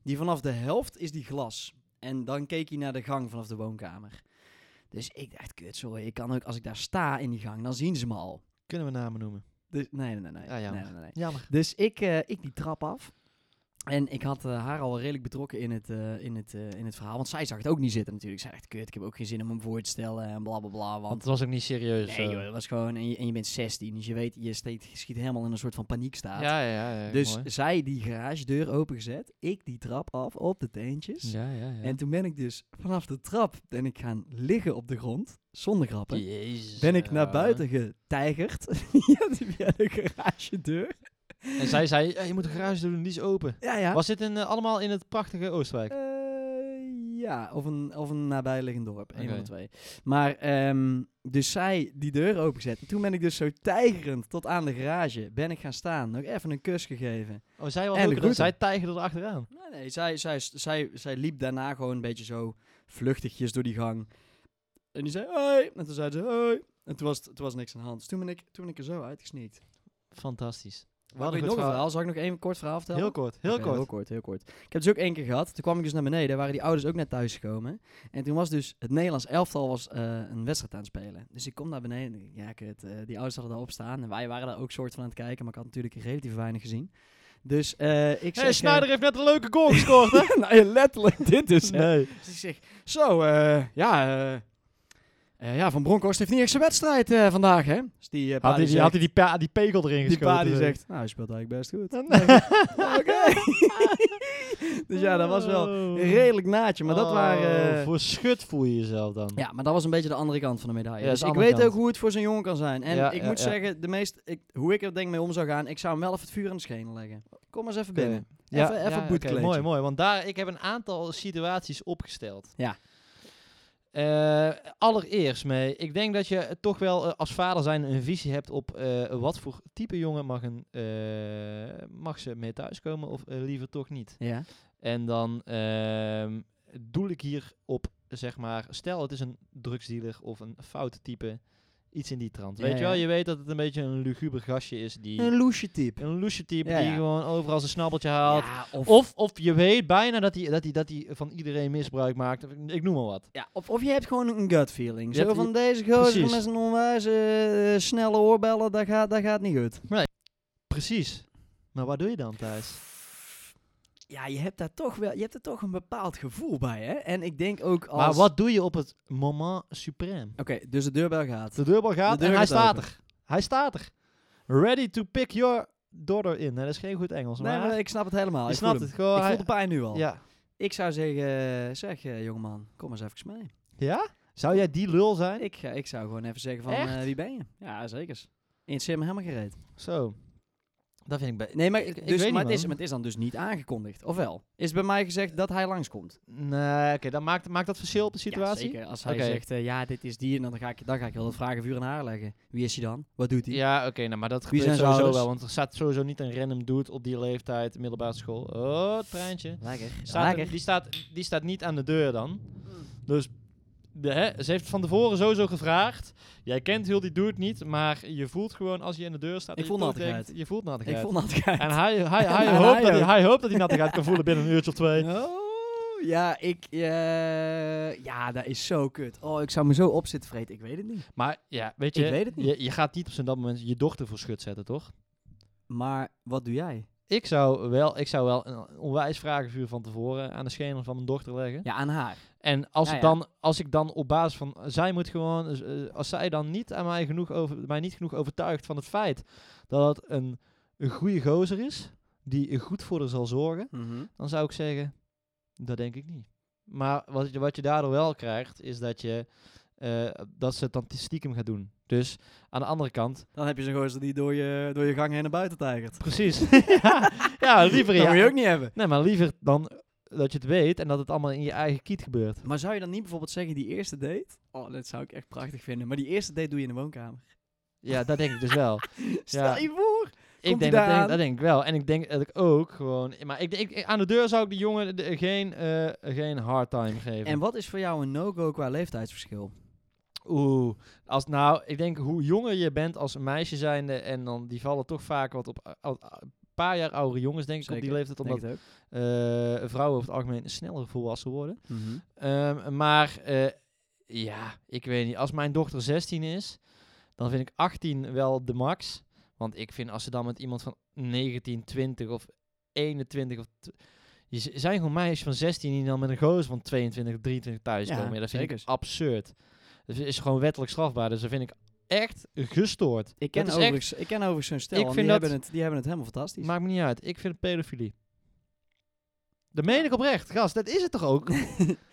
Speaker 1: Die vanaf de helft is die glas. En dan keek hij naar de gang vanaf de woonkamer. Dus ik dacht, kut, sorry. Ik kan ook, als ik daar sta in die gang, dan zien ze me al.
Speaker 2: Kunnen we namen noemen?
Speaker 1: Dus, nee, nee, nee. nee.
Speaker 2: Ah, jammer.
Speaker 1: nee, nee, nee.
Speaker 2: Jammer.
Speaker 1: Dus ik, eh, ik die trap af. En ik had eh, haar al redelijk betrokken in het, eh, in, het, eh, in het verhaal. Want zij zag het ook niet zitten natuurlijk. Zij dacht, kut, ik heb ook geen zin om hem voor te stellen en bla bla bla.
Speaker 2: Want
Speaker 1: Want
Speaker 2: het was ook niet serieus.
Speaker 1: nee
Speaker 2: eh.
Speaker 1: joh, dat was gewoon... En je, en je bent 16, dus je weet, je steekt, schiet helemaal in een soort van paniekstaat.
Speaker 2: ja, ja, ja.
Speaker 1: dus
Speaker 2: mooi.
Speaker 1: zij die garagedeur opengezet, ik die trap af op de teentjes.
Speaker 2: Ja, ja, ja.
Speaker 1: En toen ben ik dus vanaf de trap ben ik gaan liggen op de grond, zonder grappen.
Speaker 2: Jezus.
Speaker 1: Ben ik naar
Speaker 2: eh.
Speaker 1: buiten getijgerd via de, via de garagedeur.
Speaker 2: En zij zei, "Ja, je moet een garage doen, die is open.
Speaker 1: Ja, ja.
Speaker 2: Was dit in, eh, allemaal in het prachtige Oostwijk?
Speaker 1: Eh, ja, of een, of een nabijliggend dorp. Een van
Speaker 2: Oké.
Speaker 1: de twee. Maar, ehm, dus zij die deur opengezet. En toen ben ik dus zo tijgerend tot aan de garage ben ik gaan staan. Nog even een kus gegeven.
Speaker 2: Oh, zij was
Speaker 1: En de
Speaker 2: ook er,
Speaker 1: groeten.
Speaker 2: zij tijgerde er achteraan.
Speaker 1: Nee, nee, zij, zij, zij, zij liep daarna gewoon een beetje zo vluchtigjes door die gang. En die zei, hoi. En toen zei ze, hoi. En toen was, het- toen was niks aan de hand. Dus toen ben ik, toen ben ik er zo uitgesneakt.
Speaker 2: Fantastisch. We
Speaker 1: Wat
Speaker 2: hadden
Speaker 1: je
Speaker 2: goed
Speaker 1: nog een
Speaker 2: verhaal.
Speaker 1: verhaal? Zal ik nog één kort verhaal vertellen?
Speaker 2: Heel kort, heel
Speaker 1: Oké,
Speaker 2: kort.
Speaker 1: Heel kort, heel kort. Ik heb dus ook één keer gehad. Toen kwam ik dus naar beneden. Waren die ouders ook net thuis gekomen. En toen was dus het Nederlands elftal was, eh, een wedstrijd aan het spelen. Dus ik kom naar beneden. en ik denk, Ja, kut. eh, die ouders hadden daar op staan. En wij waren daar ook soort van aan het kijken. Maar ik had natuurlijk relatief weinig gezien. Dus eh, ik
Speaker 2: Hé,
Speaker 1: zeg... eh,
Speaker 2: Schneider heeft net een leuke goal gescoord, hè?
Speaker 1: nou, ja, letterlijk dit dus. hè.
Speaker 2: Nee.
Speaker 1: Dus ik zeg, zo, eh, ja... eh, eh, ja, Van Bronckhorst heeft niet echt zijn wedstrijd eh, vandaag, hè? Dus die, eh,
Speaker 2: Had
Speaker 1: pa
Speaker 2: hij
Speaker 1: die
Speaker 2: die,
Speaker 1: zegt-
Speaker 2: had hij die, pa- die pegel erin
Speaker 1: die
Speaker 2: geschoten?
Speaker 1: pa die
Speaker 2: dus.
Speaker 1: zegt, nou, hij speelt eigenlijk best goed.
Speaker 2: Nee.
Speaker 1: Oké. dus ja, dat was wel
Speaker 2: Oh.
Speaker 1: een redelijk naadje. Maar dat
Speaker 2: Oh,
Speaker 1: waren... eh,
Speaker 2: Voor schut voel je jezelf dan.
Speaker 1: ja, maar dat was een beetje de andere kant van de medaille.
Speaker 2: Ja,
Speaker 1: dus
Speaker 2: dat
Speaker 1: ik
Speaker 2: is de andere
Speaker 1: weet
Speaker 2: kant.
Speaker 1: ook hoe het voor zo'n jongen kan zijn. En
Speaker 2: Ja,
Speaker 1: ik
Speaker 2: ja,
Speaker 1: moet
Speaker 2: ja.
Speaker 1: zeggen, de meest, ik, hoe ik er denk mee om zou gaan, ik zou hem wel even het vuur aan de schenen leggen. Kom maar eens even binnen. Even- even
Speaker 2: oké,
Speaker 1: boetkleedje.
Speaker 2: mooi, mooi. Want daar, ik heb een aantal situaties opgesteld.
Speaker 1: Ja.
Speaker 2: Eh, allereerst mee, ik denk dat je toch wel eh, als vader zijn een visie hebt op eh, wat voor type jongen mag, een, eh, mag ze mee thuiskomen of eh, liever toch niet.
Speaker 1: Ja,
Speaker 2: En dan ehm, doel ik hier op, zeg maar, stel het is een drugsdealer of een foute type, iets in die trant.
Speaker 1: Ja,
Speaker 2: Weet je wel,
Speaker 1: ja.
Speaker 2: je weet dat het een beetje een luguber gastje is die...
Speaker 1: een loesje type.
Speaker 2: Een loesje type
Speaker 1: Ja,
Speaker 2: die
Speaker 1: ja.
Speaker 2: gewoon overal zijn snabbeltje haalt.
Speaker 1: Ja, of,
Speaker 2: Of, of je weet bijna dat hij, dat, hij, dat hij van iedereen misbruik maakt. Ik noem maar wat.
Speaker 1: ja, of, of je hebt gewoon een gut feeling.
Speaker 2: Je
Speaker 1: Zo
Speaker 2: hebt-
Speaker 1: van deze gozer
Speaker 2: precies.
Speaker 1: met zijn onwijze eh, snelle oorbellen, dat gaat, dat gaat niet goed.
Speaker 2: Precies. Maar wat doe je dan thuis?
Speaker 1: Ja, je hebt daar toch wel, je hebt er toch een bepaald gevoel bij, hè? En ik denk ook als...
Speaker 2: Maar wat doe je op het moment suprême?
Speaker 1: Oké, dus de deurbel gaat.
Speaker 2: De deurbel gaat
Speaker 1: De deur
Speaker 2: en hij
Speaker 1: gaat
Speaker 2: staat
Speaker 1: open.
Speaker 2: er. Hij staat er. Ready to pick your daughter in. Nou, dat is geen goed Engels,
Speaker 1: Nee,
Speaker 2: maar, Ah,
Speaker 1: maar ik snap het Oh, helemaal.
Speaker 2: je
Speaker 1: Ik
Speaker 2: snapt
Speaker 1: voel
Speaker 2: het.
Speaker 1: hem.
Speaker 2: Gewoon,
Speaker 1: Ik
Speaker 2: hij-
Speaker 1: voel de pijn nu al.
Speaker 2: ja.
Speaker 1: Ik zou zeggen, zeg eh, jongeman, kom eens even mee.
Speaker 2: ja? Zou jij die lul zijn?
Speaker 1: Ik, ga- ik zou gewoon even zeggen van,
Speaker 2: Echt?
Speaker 1: eh, wie ben je? Ja, zeker. In het sim helemaal gereed.
Speaker 2: Zo. Dat vind ik... bij-
Speaker 1: Nee, maar,
Speaker 2: Ik- ik
Speaker 1: dus,
Speaker 2: weet
Speaker 1: maar,
Speaker 2: niet,
Speaker 1: het is,
Speaker 2: man.
Speaker 1: maar het is dan dus niet aangekondigd. Ofwel, is bij mij gezegd dat hij langskomt.
Speaker 2: Nee, oké. dan maakt, maakt dat verschil op de situatie?
Speaker 1: Ja, zeker. Als hij
Speaker 2: Oké.
Speaker 1: zegt, eh, ja, dit is die, en dan ga ik, dan ga ik wel dat vragenvuur aan haar leggen. Wie is hij dan? Wat doet hij?
Speaker 2: Ja, oké, nou, maar dat
Speaker 1: Wie
Speaker 2: gebeurt
Speaker 1: zijn zijn
Speaker 2: sowieso
Speaker 1: ouders?
Speaker 2: wel. Want er staat sowieso niet een random dude op die leeftijd, middelbare school. Oh, treintje.
Speaker 1: Lekker.
Speaker 2: Staat er-
Speaker 1: Lekker.
Speaker 2: die, staat, die staat niet aan de deur dan. Dus de, hè, ze heeft van tevoren sowieso gevraagd. Jij kent heel die dude niet, maar je voelt gewoon als je aan de deur staat...
Speaker 1: Ik
Speaker 2: dat
Speaker 1: voel
Speaker 2: je toch
Speaker 1: nattigheid.
Speaker 2: denkt- Je voelt
Speaker 1: Ik
Speaker 2: nattigheid.
Speaker 1: vond dat gaaf.
Speaker 2: En hij, hij, hij,
Speaker 1: En
Speaker 2: hoopt
Speaker 1: hij
Speaker 2: dat hij,
Speaker 1: ook.
Speaker 2: hij hoopt dat hij nattigheid kan voelen binnen een uurtje of twee.
Speaker 1: Oh, ja, ik... eh, ja, dat is zo kut. Oh, ik zou me zo op zitten vreten. Ik weet het niet.
Speaker 2: Maar ja, weet je...
Speaker 1: Ik weet het niet.
Speaker 2: Je, je gaat niet op zo'n dat moment je dochter voor schut zetten, toch?
Speaker 1: Maar wat doe jij?
Speaker 2: Ik zou wel, ik zou wel een onwijs vragenvuur van tevoren aan de schenen van mijn dochter leggen.
Speaker 1: Ja, aan haar.
Speaker 2: En als,
Speaker 1: Ja,
Speaker 2: ik
Speaker 1: ja.
Speaker 2: dan, als ik dan op basis van, zij moet gewoon, dus, eh, als zij dan niet aan mij, genoeg over, mij niet genoeg overtuigt van het feit dat het een, een goede gozer is, die er goed voor haar zal zorgen,
Speaker 1: Mhm.
Speaker 2: dan zou ik zeggen, dat denk ik niet. Maar wat je, wat je daardoor wel krijgt, is dat, je, eh, dat ze het dan stiekem gaat doen. Dus aan de andere kant,
Speaker 1: Dan heb je zo'n gozer die door je, door je gang heen naar buiten tijgert.
Speaker 2: precies. ja, ja, liever
Speaker 1: Dat
Speaker 2: ja.
Speaker 1: moet je ook niet hebben.
Speaker 2: Nee, maar liever dan dat je het weet en dat het allemaal in je eigen kiet gebeurt.
Speaker 1: Maar zou je dan niet bijvoorbeeld zeggen, die eerste date... Oh, dat zou ik echt prachtig vinden. Maar die eerste date doe je in de woonkamer.
Speaker 2: Ja, dat denk ik dus wel.
Speaker 1: Stel je voor.
Speaker 2: Ik
Speaker 1: Komt
Speaker 2: denk
Speaker 1: hij
Speaker 2: dat,
Speaker 1: daar
Speaker 2: denk,
Speaker 1: aan?
Speaker 2: dat denk ik wel. En ik denk dat ik ook gewoon... Maar ik, denk- ik, aan de deur zou ik die jongen de- geen, eh, geen hard time geven.
Speaker 1: En wat is voor jou een no-go qua leeftijdsverschil?
Speaker 2: Oeh. Als, nou, ik denk hoe jonger je bent als een meisje zijnde... en dan die vallen toch vaak wat op... eh, al- een paar jaar oudere jongens, denk ik, op die
Speaker 1: Zeker,
Speaker 2: leeftijd. Omdat
Speaker 1: Denk het
Speaker 2: eh, vrouwen over het algemeen sneller volwassen worden.
Speaker 1: ook.
Speaker 2: Ehm, maar eh, ja, ik weet niet. Als mijn dochter 16 is, dan vind ik 18 wel de max. Want ik vind als ze dan met iemand van 19, 20 of 21 of... tw- Je z- zijn gewoon meisjes van 16 die dan met een gozer van 22 of 23 thuis
Speaker 1: Ja,
Speaker 2: komen. Ja, dat vind
Speaker 1: zeker.
Speaker 2: ik absurd. Dat is gewoon wettelijk strafbaar. Dus dat vind ik echt gestoord.
Speaker 1: Ik ken,
Speaker 2: dat is echt-
Speaker 1: overigens, ik ken overigens zo'n stel.
Speaker 2: Ik
Speaker 1: en
Speaker 2: vind
Speaker 1: die,
Speaker 2: dat-
Speaker 1: hebben het, die hebben het helemaal fantastisch.
Speaker 2: Maakt me niet uit. Ik vind het pedofilie. Dat meen ik oprecht. Gast, dat is het toch ook?
Speaker 1: nou,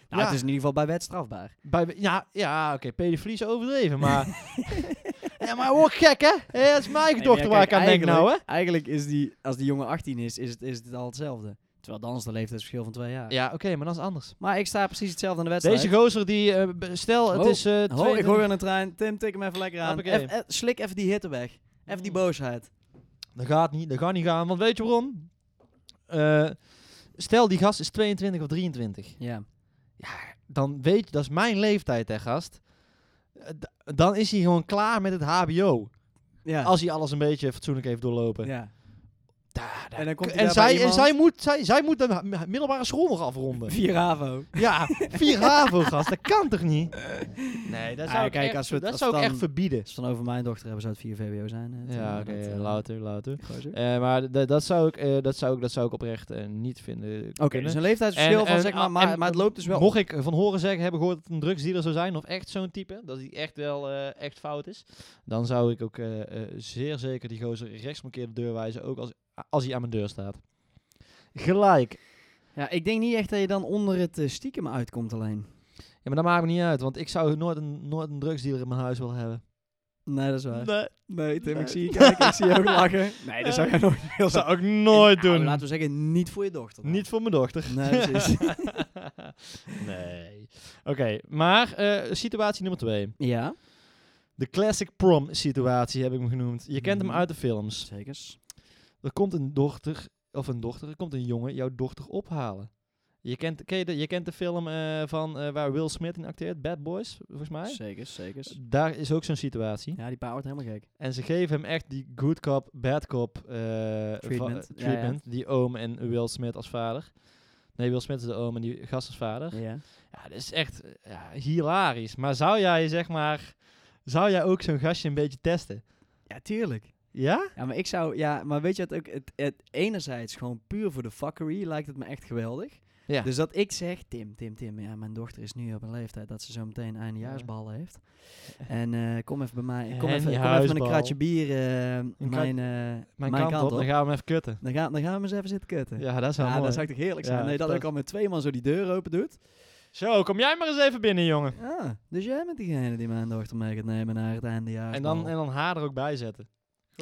Speaker 2: ja.
Speaker 1: Het is in ieder geval bij wet strafbaar.
Speaker 2: Bij, ja, ja oké, pedofilie is overdreven, maar... ja, maar word gek, hè? Hé, dat is mijn
Speaker 1: Nee,
Speaker 2: dochter
Speaker 1: maar ja,
Speaker 2: waar ik
Speaker 1: kijk,
Speaker 2: aan denk nou, hè?
Speaker 1: eigenlijk- Eigenlijk is die, als die jongen 18 is, is het, is het al hetzelfde. Terwijl dan is het leeftijdsverschil van twee jaar.
Speaker 2: Ja, oké, maar dat is anders.
Speaker 1: Maar ik sta precies hetzelfde aan de wedstrijd.
Speaker 2: Deze gozer die... eh, b- stel, het
Speaker 1: Oh,
Speaker 2: is... eh
Speaker 1: Ho, ik gooi aan de trein. Tim, tik hem even lekker aan.
Speaker 2: Hoppakee.
Speaker 1: Eff- eh, slik even die hitte weg. Even die
Speaker 2: Mm.
Speaker 1: boosheid.
Speaker 2: Dat gaat niet, dat gaat niet gaan, want weet je waarom? Eh, stel, die gast is 22 of 23.
Speaker 1: Ja.
Speaker 2: Dan weet je, dat is mijn leeftijd, hè, gast. Eh, d- Dan is hij gewoon klaar met het hbo.
Speaker 1: Ja.
Speaker 2: Als hij alles een beetje fatsoenlijk heeft doorlopen.
Speaker 1: ja.
Speaker 2: Da- da-
Speaker 1: En dan komt hij
Speaker 2: en
Speaker 1: daar bij
Speaker 2: zij, en
Speaker 1: iemand.
Speaker 2: zij moet, zij, zij moet de m- middelbare school nog afronden.
Speaker 1: Vier AVO.
Speaker 2: ja, vier HAVO, gast. Dat kan toch niet? Nee, dat
Speaker 1: Ah,
Speaker 2: zou ik,
Speaker 1: kijk,
Speaker 2: echt,
Speaker 1: als we het-
Speaker 2: dat
Speaker 1: als
Speaker 2: zou ik
Speaker 1: dan-
Speaker 2: echt verbieden.
Speaker 1: Als het dan over mijn dochter hebben, zou het 4 VWO zijn. eh,
Speaker 2: Ja,
Speaker 1: Tim,
Speaker 2: oké,
Speaker 1: dat, eh,
Speaker 2: later, later.
Speaker 1: gozer.
Speaker 2: Eh, maar d- dat zou, ik, eh, dat, zou ik, dat zou ik oprecht eh, niet vinden.
Speaker 1: Oké, dus een leeftijdsverschil
Speaker 2: En-
Speaker 1: van
Speaker 2: en-
Speaker 1: zeg
Speaker 2: ah,
Speaker 1: maar, maar,
Speaker 2: en-
Speaker 1: maar het loopt dus wel
Speaker 2: Mocht ik van horen zeggen, hebben gehoord dat het een drugsdealer zou zijn, of echt zo'n type, dat hij echt wel eh, echt fout is, dan zou ik ook eh, eh, zeer zeker die gozer rechts markeerde deur wijzen, ook als, als hij aan mijn deur staat. Gelijk.
Speaker 1: Ja, ik denk niet echt dat je dan onder het eh, stiekem uitkomt alleen.
Speaker 2: Ja, maar dat maakt me niet uit, want ik zou nooit een, nooit een drugsdealer in mijn huis willen hebben.
Speaker 1: Nee, dat is waar.
Speaker 2: Nee,
Speaker 1: Nee, Tim,
Speaker 2: Nee.
Speaker 1: ik zie je kijken, ik zie je ook lachen. Nee, dat zou jij nooit willen.
Speaker 2: dat zou ik
Speaker 1: Nou,
Speaker 2: nooit doen.
Speaker 1: laten we zeggen, niet voor je dochter. dan.
Speaker 2: Niet voor mijn dochter.
Speaker 1: Nee, precies.
Speaker 2: nee. Oké, maar eh, situatie nummer twee.
Speaker 1: ja,
Speaker 2: De classic prom situatie heb ik hem genoemd. Je kent hem
Speaker 1: Mhm.
Speaker 2: uit de films.
Speaker 1: zeker.
Speaker 2: Er komt een dochter, of een dochter, er komt een jongen jouw dochter ophalen. Je kent, ken je, de, je kent de film eh, van, eh, waar Will Smith in acteert, Bad Boys, volgens mij.
Speaker 1: Zeker, zeker.
Speaker 2: Daar is ook zo'n situatie.
Speaker 1: Ja, die pa wordt helemaal gek.
Speaker 2: En ze geven hem echt die good cop, bad cop eh, va-
Speaker 1: Treatment, ja,
Speaker 2: treatment. Die oom en Will Smith als vader. Nee, Will Smith is de oom en die gast als vader.
Speaker 1: Ja.
Speaker 2: Ja, dat is echt eh, ja, hilarisch. Maar zou jij, zeg maar, zou jij ook zo'n gastje een beetje testen?
Speaker 1: ja, tuurlijk.
Speaker 2: Ja?
Speaker 1: Ja, maar ik zou, ja, maar weet je wat ook, het, het enerzijds gewoon puur voor de fuckery lijkt het me echt geweldig.
Speaker 2: Ja.
Speaker 1: Dus dat ik zeg, Tim, Tim, Tim, ja, mijn dochter is nu op een leeftijd dat ze zo meteen eindejaarsballen heeft. En eh, kom even bij mij, kom even, kom even met een
Speaker 2: Eindejaarsbal.
Speaker 1: kratje bier eh, mijn, eh,
Speaker 2: Mijn, kant, op, dan gaan we hem even kutten.
Speaker 1: Dan gaan, dan gaan we eens even zitten kutten. Ja,
Speaker 2: Ja, dat is wel mooi.
Speaker 1: dat zou ik toch heerlijk zijn.
Speaker 2: Ja,
Speaker 1: nee, dat ik al met twee man zo die deur open doet.
Speaker 2: Zo, kom jij maar eens even binnen, jongen.
Speaker 1: Ah, dus jij bent diegene die mijn dochter mee gaat nemen naar het eindejaars.
Speaker 2: En dan, en dan haar er ook bij zetten.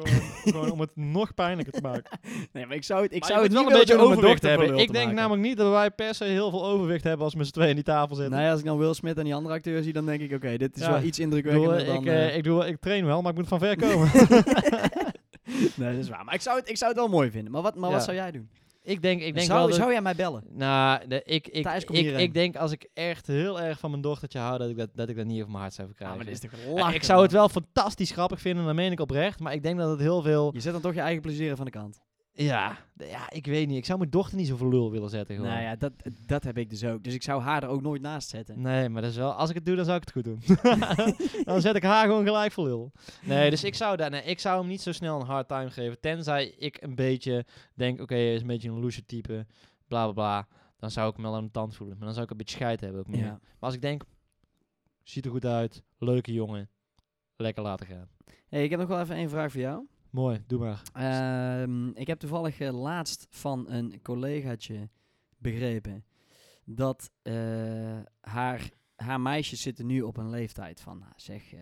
Speaker 2: Gewoon, gewoon om het nog pijnlijker te maken.
Speaker 1: nee, maar ik zou het, ik
Speaker 2: Maar
Speaker 1: zou
Speaker 2: je
Speaker 1: het
Speaker 2: moet
Speaker 1: niet
Speaker 2: wel een beetje
Speaker 1: willen doen om mijn
Speaker 2: overwicht
Speaker 1: dochter voor
Speaker 2: hebben.
Speaker 1: lul
Speaker 2: Ik
Speaker 1: te
Speaker 2: denk
Speaker 1: maken.
Speaker 2: namelijk niet dat wij per se heel veel overwicht hebben als we z'n tweeën in die tafel zitten.
Speaker 1: Nee, als ik dan Will Smith en die andere acteur zie, dan denk ik, oké, dit is
Speaker 2: Ja.
Speaker 1: wel iets
Speaker 2: ik, bedoel,
Speaker 1: indrukwekkender
Speaker 2: eh, ik,
Speaker 1: dan...
Speaker 2: eh,
Speaker 1: eh,
Speaker 2: ik, doe, wel- ik train wel, maar ik moet van ver komen.
Speaker 1: nee, dat is waar. Maar ik zou het, ik zou het wel mooi vinden. Maar wat, maar
Speaker 2: Ja.
Speaker 1: wat zou jij doen?
Speaker 2: ik denk, ik denk
Speaker 1: zou,
Speaker 2: wel dat...
Speaker 1: zou jij mij bellen?
Speaker 2: Nou, de- ik, ik,
Speaker 1: Thijs, kom
Speaker 2: ik,
Speaker 1: hierheen.
Speaker 2: ik denk als ik echt heel erg van mijn dochtertje hou, dat ik dat, dat, ik dat niet op mijn hart zou
Speaker 1: Ja,
Speaker 2: krijgen.
Speaker 1: Ah, maar dit is toch
Speaker 2: Eh,
Speaker 1: lachen,
Speaker 2: ik zou het
Speaker 1: man.
Speaker 2: wel fantastisch grappig vinden, dat meen ik oprecht. Maar ik denk dat het heel veel...
Speaker 1: Je zet dan toch je eigen plezier van de kant.
Speaker 2: Ja, d- ja ik weet niet. Ik zou mijn dochter niet zo voor lul willen zetten gewoon.
Speaker 1: Nou ja, dat, dat heb ik dus ook. Dus ik zou haar er ook nooit naast zetten.
Speaker 2: Nee, maar dat is wel, als ik het doe, dan zou ik het goed doen. dan zet ik haar gewoon gelijk voor lul. Nee, dus ik zou, daar, nee, ik zou hem niet zo snel een hard time geven. Tenzij ik een beetje denk, oké, hij is een beetje een loesje type, bla bla bla. Dan zou ik hem wel aan de tand voelen. Maar dan zou ik een beetje scheid hebben ook meer.
Speaker 1: Ja.
Speaker 2: Maar als ik denk, ziet er goed uit, leuke jongen, lekker laten gaan.
Speaker 1: Hey, ik heb nog wel even één vraag voor jou.
Speaker 2: Mooi, doe maar.
Speaker 1: Ehm, ik heb toevallig eh, laatst van een collegaatje begrepen dat eh, haar, haar meisjes zitten nu op een leeftijd van, nou, zeg, eh,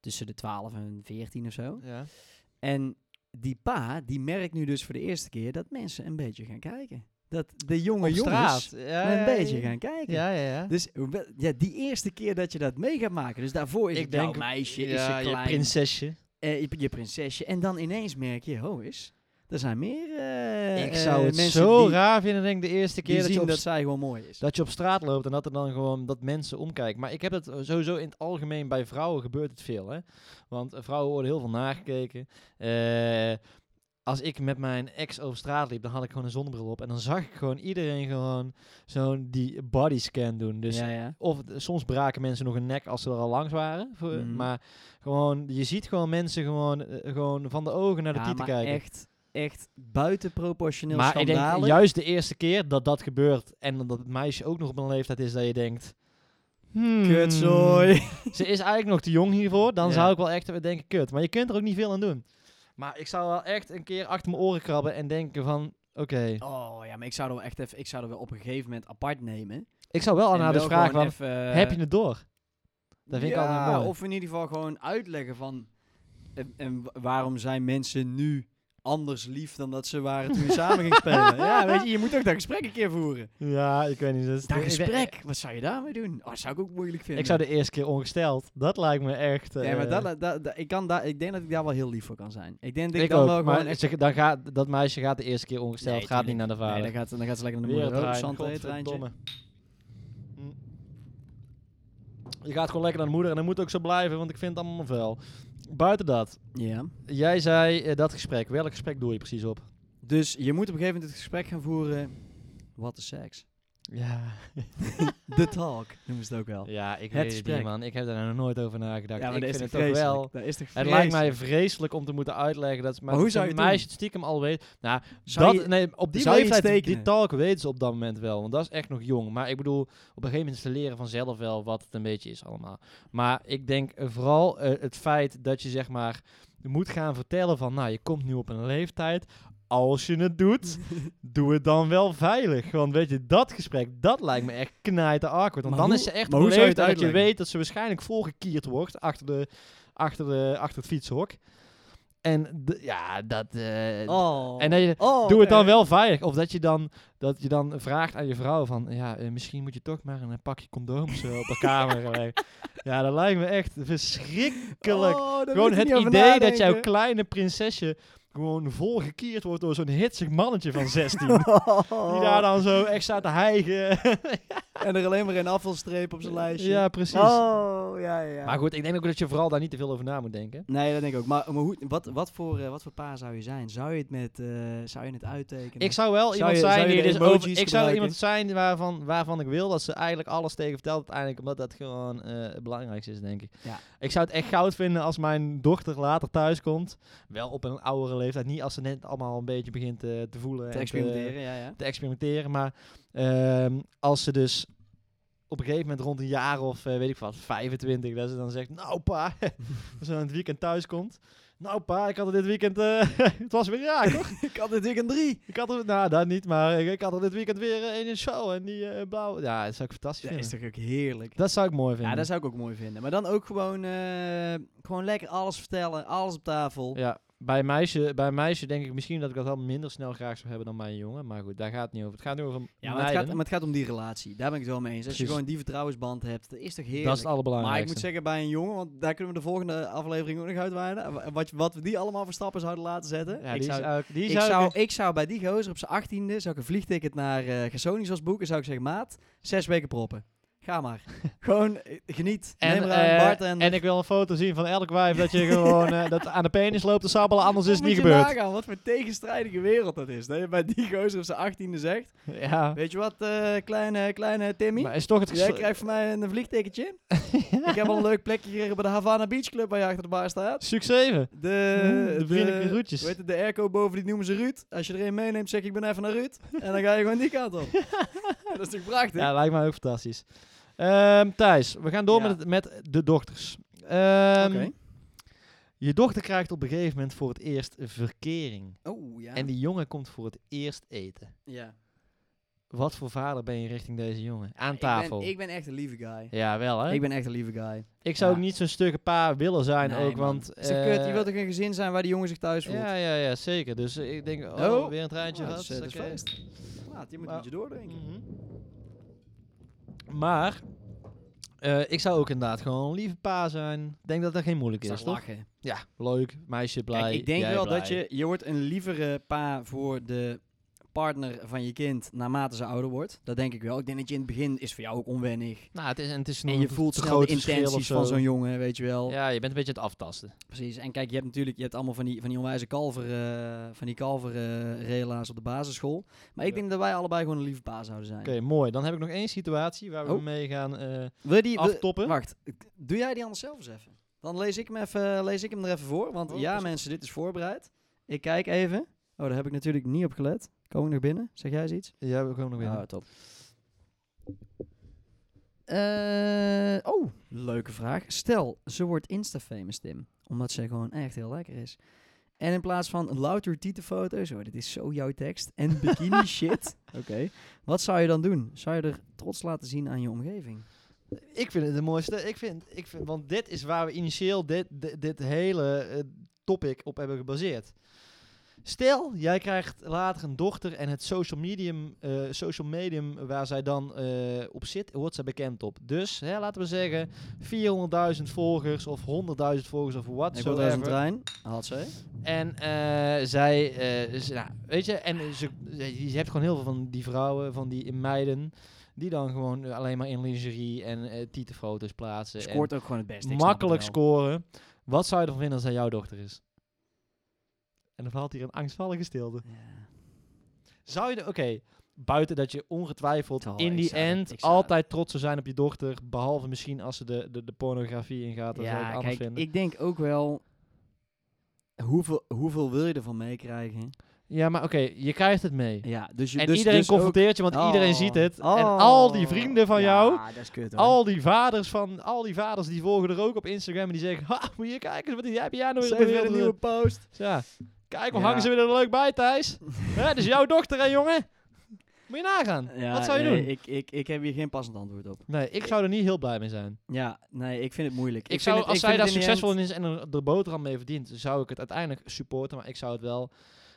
Speaker 1: tussen de 12 en 14 of zo.
Speaker 2: Ja.
Speaker 1: En die pa, die merkt nu dus voor de eerste keer dat mensen een beetje gaan kijken. Dat de jonge jongens
Speaker 2: straat. Ja,
Speaker 1: een
Speaker 2: ja,
Speaker 1: beetje
Speaker 2: ja.
Speaker 1: gaan kijken.
Speaker 2: Ja, ja, ja.
Speaker 1: Dus wel- ja, die eerste keer dat je dat mee gaat maken, dus daarvoor is
Speaker 2: Ik
Speaker 1: het jouw
Speaker 2: denk-
Speaker 1: meisje, is
Speaker 2: ja,
Speaker 1: ze
Speaker 2: je
Speaker 1: klein,
Speaker 2: prinsesje.
Speaker 1: eh, je, je prinsesje. En dan ineens merk je, ho eens, er zijn meer eh,
Speaker 2: ik
Speaker 1: eh,
Speaker 2: zou het
Speaker 1: mensen
Speaker 2: zo
Speaker 1: die,
Speaker 2: raar vinden, denk ik, de eerste
Speaker 1: die
Speaker 2: keer dat je,
Speaker 1: zien
Speaker 2: op,
Speaker 1: dat zij gewoon mooi is.
Speaker 2: dat je op straat loopt en dat er dan gewoon dat mensen omkijken. Maar ik heb dat sowieso in het algemeen bij vrouwen gebeurt het veel, hè? Want eh, vrouwen worden heel veel nagekeken. Eh, als ik met mijn ex over straat liep, dan had ik gewoon een zonnebril op en dan zag ik gewoon iedereen gewoon zo'n die body scan doen. Dus
Speaker 1: ja, ja.
Speaker 2: of eh, soms braken mensen nog een nek als ze er al langs waren. Voor,
Speaker 1: Mhm.
Speaker 2: Maar gewoon, je ziet gewoon mensen gewoon, eh, gewoon van de ogen naar de
Speaker 1: Ja,
Speaker 2: tieten
Speaker 1: maar
Speaker 2: kijken.
Speaker 1: echt, echt buitenproportioneel
Speaker 2: Maar ik denk
Speaker 1: schandalig.
Speaker 2: juist de eerste keer dat dat gebeurt en dat het meisje ook nog op een leeftijd is dat je denkt... Hmm,
Speaker 1: Kutzooi.
Speaker 2: Ze is eigenlijk nog te jong hiervoor. Dan
Speaker 1: Ja.
Speaker 2: zou ik wel echt weer denken, kut. Maar je kunt er ook niet veel aan doen. Maar ik zou wel echt een keer achter mijn oren krabben en denken van... Oké,
Speaker 1: Oh ja, maar ik zou er wel echt even, ik zou er wel op een gegeven moment apart nemen.
Speaker 2: ik zou wel eh, aan
Speaker 1: En
Speaker 2: haar dus
Speaker 1: wel
Speaker 2: vragen,
Speaker 1: gewoon
Speaker 2: van,
Speaker 1: even, eh,
Speaker 2: heb je het door? Dat vind ik
Speaker 1: ja,
Speaker 2: altijd mooi.
Speaker 1: Of in ieder geval gewoon uitleggen van. En, en wa- waarom zijn mensen nu anders lief dan dat ze waren toen je samen ging spelen? Ja, weet je, je moet ook dat gesprek een keer voeren.
Speaker 2: Ja, ik weet niet. Dat is-
Speaker 1: Dat
Speaker 2: ik- ik-
Speaker 1: gesprek, wat zou je daarmee doen? Oh, dat zou ik ook moeilijk vinden.
Speaker 2: Ik zou de eerste keer ongesteld. Dat lijkt me echt...
Speaker 1: ja, maar
Speaker 2: eh,
Speaker 1: dat, dat, dat- ik, kan daar, ik denk dat ik daar wel heel lief voor kan zijn. Ik denk dat
Speaker 2: ik
Speaker 1: ik, dan
Speaker 2: ook,
Speaker 1: wel
Speaker 2: maar
Speaker 1: gewoon echt...
Speaker 2: ze- dan gaat, dat meisje gaat de eerste keer ongesteld,
Speaker 1: Nee,
Speaker 2: gaat niet
Speaker 1: tuurlijk.
Speaker 2: naar de vader.
Speaker 1: Nee, dan gaat, dan gaat ze lekker naar de
Speaker 2: Weer het
Speaker 1: moeder. Oh,
Speaker 2: trein,
Speaker 1: Santé, treintje.
Speaker 2: godverdomme. Hm. Je gaat gewoon lekker naar de moeder en dat moet ook zo blijven, want ik vind het allemaal vuil. Buiten dat,
Speaker 1: Ja.
Speaker 2: jij zei eh, dat gesprek. Welk gesprek doe je precies op?
Speaker 1: Dus je moet op een gegeven moment het gesprek gaan voeren. Wat is seks?
Speaker 2: Ja,
Speaker 1: The talk, noemen ze het ook wel.
Speaker 2: ja ik
Speaker 1: Het
Speaker 2: weet het
Speaker 1: gesprek.
Speaker 2: niet, man. Ik heb daar nog nooit over nagedacht.
Speaker 1: maar
Speaker 2: ik
Speaker 1: dat
Speaker 2: vind
Speaker 1: is
Speaker 2: het
Speaker 1: toch
Speaker 2: ook
Speaker 1: vreselijk?
Speaker 2: wel...
Speaker 1: Dat is toch
Speaker 2: Het lijkt mij vreselijk om te moeten uitleggen dat ze
Speaker 1: Maar hoe zou je
Speaker 2: een
Speaker 1: het doen?
Speaker 2: meisje het stiekem al weet. Nou,
Speaker 1: Zou
Speaker 2: dat,
Speaker 1: je-
Speaker 2: nee, op die
Speaker 1: zou je iets
Speaker 2: leeftijd, die
Speaker 1: tekenen?
Speaker 2: talk weten ze op dat moment wel. Want dat is echt nog jong. Maar ik bedoel, op een gegeven moment ze leren vanzelf wel wat het een beetje is allemaal. Maar ik denk eh, vooral eh, het feit dat je zeg maar moet gaan vertellen van... Nou, je komt nu op een leeftijd. Als je het doet, doe het dan wel veilig. Want weet je, dat gesprek, dat lijkt me echt knijten awkward. Want
Speaker 1: Maar
Speaker 2: dan
Speaker 1: hoe-
Speaker 2: is ze echt
Speaker 1: maar
Speaker 2: op een
Speaker 1: hoe zou je het
Speaker 2: leeftijd dat je
Speaker 1: uitleggen?
Speaker 2: weet dat ze waarschijnlijk voorgekierd wordt achter, de, achter, de, achter het fietshok. En d- ja, dat. eh,
Speaker 1: Oh.
Speaker 2: En dat je,
Speaker 1: Oh,
Speaker 2: doe het dan
Speaker 1: oké.
Speaker 2: wel veilig. Of dat je dan, dat je dan vraagt aan je vrouw van, ja, eh, misschien moet je toch maar een pakje condooms eh, op de kamer gaan leggen. Ja, dat lijkt me echt verschrikkelijk.
Speaker 1: Oh, daar
Speaker 2: gewoon
Speaker 1: moet
Speaker 2: het
Speaker 1: je niet over
Speaker 2: idee dat jouw
Speaker 1: nadenken.
Speaker 2: kleine prinsesje gewoon volgekierd wordt door zo'n hitsig mannetje van 16. Die daar dan zo echt staat te hijgen.
Speaker 1: Oh. En er alleen maar een afvalstreep op zijn lijstje.
Speaker 2: ja, precies.
Speaker 1: Oh, ja, ja.
Speaker 2: Maar goed, ik denk ook dat je vooral daar niet te veel over na moet denken.
Speaker 1: Nee, dat denk ik ook. Maar, maar hoe, wat, wat, voor, eh, wat voor pa zou je zijn? Zou je het met, eh, zou je het uittekenen?
Speaker 2: Ik zou wel
Speaker 1: Zou
Speaker 2: iemand
Speaker 1: je-
Speaker 2: zijn
Speaker 1: zou je
Speaker 2: die
Speaker 1: de
Speaker 2: dus over,
Speaker 1: emojis
Speaker 2: Ik zou
Speaker 1: gebruiken?
Speaker 2: iemand zijn waarvan, waarvan ik wil dat ze eigenlijk alles tegen vertelt uiteindelijk. Omdat dat gewoon eh, het belangrijkste is, denk ik.
Speaker 1: Ja.
Speaker 2: Ik zou het echt goud vinden als mijn dochter later thuis komt. Wel op een oudere leeftijd. Niet als ze net allemaal een beetje begint eh, te voelen.
Speaker 1: te
Speaker 2: en
Speaker 1: experimenteren, ja, ja.
Speaker 2: Te, experimenteren. Maar ehm, als ze dus op een gegeven moment rond een jaar of eh, weet ik wat, 25. Dat ze dan zegt, nou pa, als ze dan het weekend thuis komt. Nou pa, ik had het dit weekend, eh, het was weer raak hoor.
Speaker 1: ik had natuurlijk een drie.
Speaker 2: Ik had er, nou dat niet, maar ik, ik had er dit weekend weer eh, een in show en die eh blauw. Ja, dat zou ik fantastisch
Speaker 1: Dat is
Speaker 2: vinden.
Speaker 1: toch ook heerlijk.
Speaker 2: Dat zou ik mooi vinden.
Speaker 1: Ja, dat zou ik ook mooi vinden. Maar dan ook gewoon, eh, gewoon lekker alles vertellen, alles op tafel.
Speaker 2: Ja, bij, een meisje, bij een meisje denk ik misschien dat ik dat wel minder snel graag zou hebben dan bij een jongen. Maar goed, daar gaat het niet over. Het gaat nu over
Speaker 1: Ja, maar het,
Speaker 2: meiden.
Speaker 1: gaat, maar het gaat om die relatie. Daar ben ik het wel mee eens. Als je
Speaker 2: Precies.
Speaker 1: gewoon die vertrouwensband hebt, dat is toch heerlijk.
Speaker 2: dat is het
Speaker 1: maar
Speaker 2: allerbelangrijkste.
Speaker 1: ik moet zeggen, bij een jongen, want daar kunnen we de volgende aflevering ook nog uitweiden. wa- Wat, wat we die allemaal voor stappen zouden laten zetten.
Speaker 2: Ja,
Speaker 1: ik,
Speaker 2: die
Speaker 1: zou,
Speaker 2: zou ik- die
Speaker 1: ik,
Speaker 2: zou ik-
Speaker 1: zou, ik zou bij die gozer op zijn achttiende, zou ik een vliegticket naar eh Gersonisos boeken. Zou ik zeggen, maat, zes weken proppen. Ga maar. gewoon eh, geniet.
Speaker 2: en,
Speaker 1: Neem er
Speaker 2: eh,
Speaker 1: aan, Bart. En,
Speaker 2: en ik wil een foto zien van elk wijf dat je gewoon eh, dat aan de penis loopt te sabbelen, anders is het
Speaker 1: Moet
Speaker 2: niet
Speaker 1: je
Speaker 2: gebeurd.
Speaker 1: nagaan wat voor tegenstrijdige wereld dat is. Dat je bij die gozer op zijn achttiende zegt,
Speaker 2: Ja,
Speaker 1: weet je wat, eh, kleine, kleine Timmy?
Speaker 2: maar is toch het
Speaker 1: Jij
Speaker 2: gesle-
Speaker 1: krijgt van mij een vliegticketje. Ik heb al een leuk plekje gekregen bij de Havana Beach Club waar je achter de bar staat.
Speaker 2: Succes even.
Speaker 1: De,
Speaker 2: Hmm, de vriendelijke groetjes.
Speaker 1: Weet het, de airco boven, die noemen ze Ruud. Als je er een meeneemt, zeg ik, ik ben even naar Ruud. En dan ga je gewoon die kant op. dat is toch prachtig?
Speaker 2: Ja, lijkt mij ook fantastisch. Ehm, Thijs, we gaan door
Speaker 1: Ja.
Speaker 2: met, het- met de dochters. Ehm,
Speaker 1: Oké.
Speaker 2: Je dochter krijgt op een gegeven moment voor het eerst verkering.
Speaker 1: Oh, ja.
Speaker 2: En die jongen komt voor het eerst eten.
Speaker 1: ja.
Speaker 2: Wat voor vader ben je richting deze jongen? Aan
Speaker 1: Ik ben-
Speaker 2: tafel.
Speaker 1: Ik ben, echt een lieve guy.
Speaker 2: Ja, wel hè?
Speaker 1: Ik
Speaker 2: Ik,
Speaker 1: ben echt een lieve guy.
Speaker 2: zou
Speaker 1: ja.
Speaker 2: ook niet zo'n stukke pa willen zijn
Speaker 1: Nee,
Speaker 2: ook,
Speaker 1: man.
Speaker 2: want...
Speaker 1: Is toch
Speaker 2: eh,
Speaker 1: kut? Je wilt toch een gezin zijn waar die jongen zich thuis voelt?
Speaker 2: ja, ja, ja, zeker. Dus eh, ik denk, oh,
Speaker 1: Oh.
Speaker 2: weer een treintje
Speaker 1: Ah,
Speaker 2: gehad.
Speaker 1: het is, eh, het is
Speaker 2: oké. Nou,
Speaker 1: feest. Maat, je moet
Speaker 2: Maar-
Speaker 1: met je doordrinken.
Speaker 2: Mhm. Maar, eh, ik zou ook inderdaad gewoon een lieve pa zijn. Ik denk dat dat geen moeilijk
Speaker 1: Ik
Speaker 2: is,
Speaker 1: zag
Speaker 2: toch?
Speaker 1: lachen.
Speaker 2: Ja, leuk, meisje blij.
Speaker 1: Kijk, ik denk
Speaker 2: jij
Speaker 1: wel
Speaker 2: blij.
Speaker 1: dat je, je wordt een lievere pa voor de partner van je kind naarmate ze ouder wordt. Dat denk ik wel. Ik denk dat je in het begin is voor jou ook onwennig.
Speaker 2: Nou, het is, en het is
Speaker 1: En
Speaker 2: nog
Speaker 1: je
Speaker 2: een
Speaker 1: voelt
Speaker 2: te
Speaker 1: snel
Speaker 2: groot
Speaker 1: de
Speaker 2: verschil of
Speaker 1: intenties
Speaker 2: zo.
Speaker 1: van zo'n jongen, weet je wel.
Speaker 2: Ja, je bent een beetje aan het aftasten.
Speaker 1: Precies. En kijk, je hebt natuurlijk je hebt allemaal van die, van die onwijze kalver, eh, van die kalver eh, rela's op de basisschool. Maar ik
Speaker 2: Ja.
Speaker 1: denk dat wij allebei gewoon een lieve pa zouden zijn.
Speaker 2: Oké, mooi. Dan heb ik nog één situatie waar we
Speaker 1: Oh.
Speaker 2: mee gaan eh,
Speaker 1: Wil je die, wil-
Speaker 2: aftoppen.
Speaker 1: Wacht, ik- doe jij die anders zelf eens even? Dan lees eh, ik hem, even, lees ik hem er even voor. Want
Speaker 2: Oh,
Speaker 1: ja,
Speaker 2: pas op.
Speaker 1: mensen, dit is voorbereid. Ik kijk even. Oh, daar heb ik natuurlijk niet op gelet. Komen we nog binnen? Zeg jij eens iets?
Speaker 2: Ja, we komen nog weer.
Speaker 1: Ah, top. Eh, oh, leuke vraag. Stel, ze wordt Insta-famous, Tim. Omdat ze gewoon echt heel lekker is. En in plaats van louter tietenfoto's, oh, dit is zo jouw tekst, en bikini shit. Oké. Wat zou je dan doen? Zou je er trots laten zien aan je omgeving?
Speaker 2: Ik vind het de mooiste. Ik vind, ik vind, want dit is waar we initieel dit, dit, dit hele eh, topic op hebben gebaseerd. Stel, jij krijgt later een dochter en het social, medium, eh, social medium waar zij dan eh, op zit, wordt zij bekend op. Dus hè, laten we zeggen 400.000 volgers of 100.000 volgers
Speaker 1: Ik
Speaker 2: of
Speaker 1: wil daar een
Speaker 2: whatsoever.
Speaker 1: trein. Had ze.
Speaker 2: En eh, zij, eh, ze- nou, weet je, en ze, je hebt gewoon heel veel van die vrouwen, van die meiden, die dan gewoon eh, alleen maar in lingerie en eh tietenfoto's plaatsen. en-
Speaker 1: Scoort ook gewoon het beste. ik snap het
Speaker 2: makkelijk
Speaker 1: wel.
Speaker 2: scoren. Wat zou je ervan vinden als hij jouw dochter is? En dan valt hier een angstvallige stilte.
Speaker 1: Ja.
Speaker 2: Zou je, er- oké, buiten dat je ongetwijfeld
Speaker 1: Oh,
Speaker 2: in
Speaker 1: ik
Speaker 2: die
Speaker 1: zou dat-
Speaker 2: end
Speaker 1: ik zou dat-
Speaker 2: altijd trots zou zijn op je dochter, behalve misschien als ze de, de, de pornografie ingaat, dan zou ik
Speaker 1: Ja,
Speaker 2: het anders
Speaker 1: kijk,
Speaker 2: vinden.
Speaker 1: ik denk ook wel... Hoeveel, hoeveel wil je ervan meekrijgen?
Speaker 2: Ja, maar oké, je krijgt het mee.
Speaker 1: Ja, dus je
Speaker 2: en
Speaker 1: dus,
Speaker 2: iedereen
Speaker 1: dus ook-
Speaker 2: confronteert je, want
Speaker 1: Oh.
Speaker 2: iedereen ziet het. En
Speaker 1: Oh.
Speaker 2: al die vrienden van jou,
Speaker 1: Ja, dat is kut hoor.
Speaker 2: al die vaders van, al die vaders die volgen er ook op Instagram en die zeggen, ha, moet je kijken, wat heb jij nou
Speaker 1: Ze
Speaker 2: weer
Speaker 1: heeft
Speaker 2: weer een nieuwe
Speaker 1: post.
Speaker 2: Ja. Kijk, we
Speaker 1: Ja.
Speaker 2: hangen ze weer er leuk bij, Thijs. Hè, dat is jouw dochter, hè, jongen? Moet je nagaan. Wat zou je
Speaker 1: nee,
Speaker 2: doen?
Speaker 1: Ik, ik, ik heb hier geen passend antwoord op.
Speaker 2: Nee, ik zou er niet heel blij mee zijn.
Speaker 1: Ja, nee, ik vind het moeilijk.
Speaker 2: Ik, zou,
Speaker 1: vind het-
Speaker 2: als zij
Speaker 1: vind het
Speaker 2: daar
Speaker 1: in de
Speaker 2: succesvol
Speaker 1: end-
Speaker 2: in is en er de boterham mee verdient, zou ik het uiteindelijk supporten. Maar ik zou het wel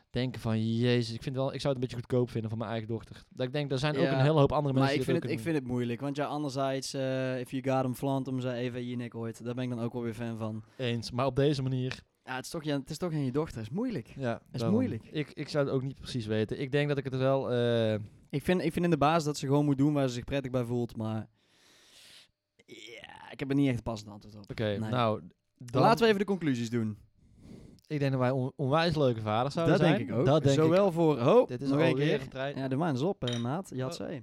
Speaker 2: denken van, jezus, ik, vind wel, ik zou het een beetje goedkoop vinden van mijn eigen dochter. Dat ik denk, er zijn ook
Speaker 1: Ja,
Speaker 2: een hele hoop andere
Speaker 1: Maar
Speaker 2: mensen
Speaker 1: ik
Speaker 2: die
Speaker 1: vind, het,
Speaker 2: dat
Speaker 1: ik
Speaker 2: ook
Speaker 1: vind het moeilijk, want ja, anderzijds, eh if you got him flant om ze even in je nek ooit, daar ben ik dan ook wel weer fan van.
Speaker 2: doen. Eens, maar op deze manier.
Speaker 1: Ja, het is toch, ja, het is toch aan je dochter, het is moeilijk.
Speaker 2: Ja, dat
Speaker 1: is moeilijk.
Speaker 2: Ik, ik zou het ook niet precies weten. Ik denk dat ik het wel... eh,
Speaker 1: Ik vind, ik vind in de baas dat ze gewoon moet doen waar ze zich prettig bij voelt, maar ja, ik heb er niet echt een passend antwoord op.
Speaker 2: Oké,
Speaker 1: Nee.
Speaker 2: nou... dan-
Speaker 1: Laten we even de conclusies doen.
Speaker 2: Ik denk dat wij on- onwijs leuke vaders zouden
Speaker 1: Dat
Speaker 2: zijn.
Speaker 1: denk ik ook.
Speaker 2: Dat denk ik
Speaker 1: Zowel voor, ho,
Speaker 2: Dit is
Speaker 1: nog één
Speaker 2: alweer
Speaker 1: keer.
Speaker 2: een trein. Mm,
Speaker 1: Ja, de maan is op, eh, maat. Je had
Speaker 2: Oh.
Speaker 1: ze.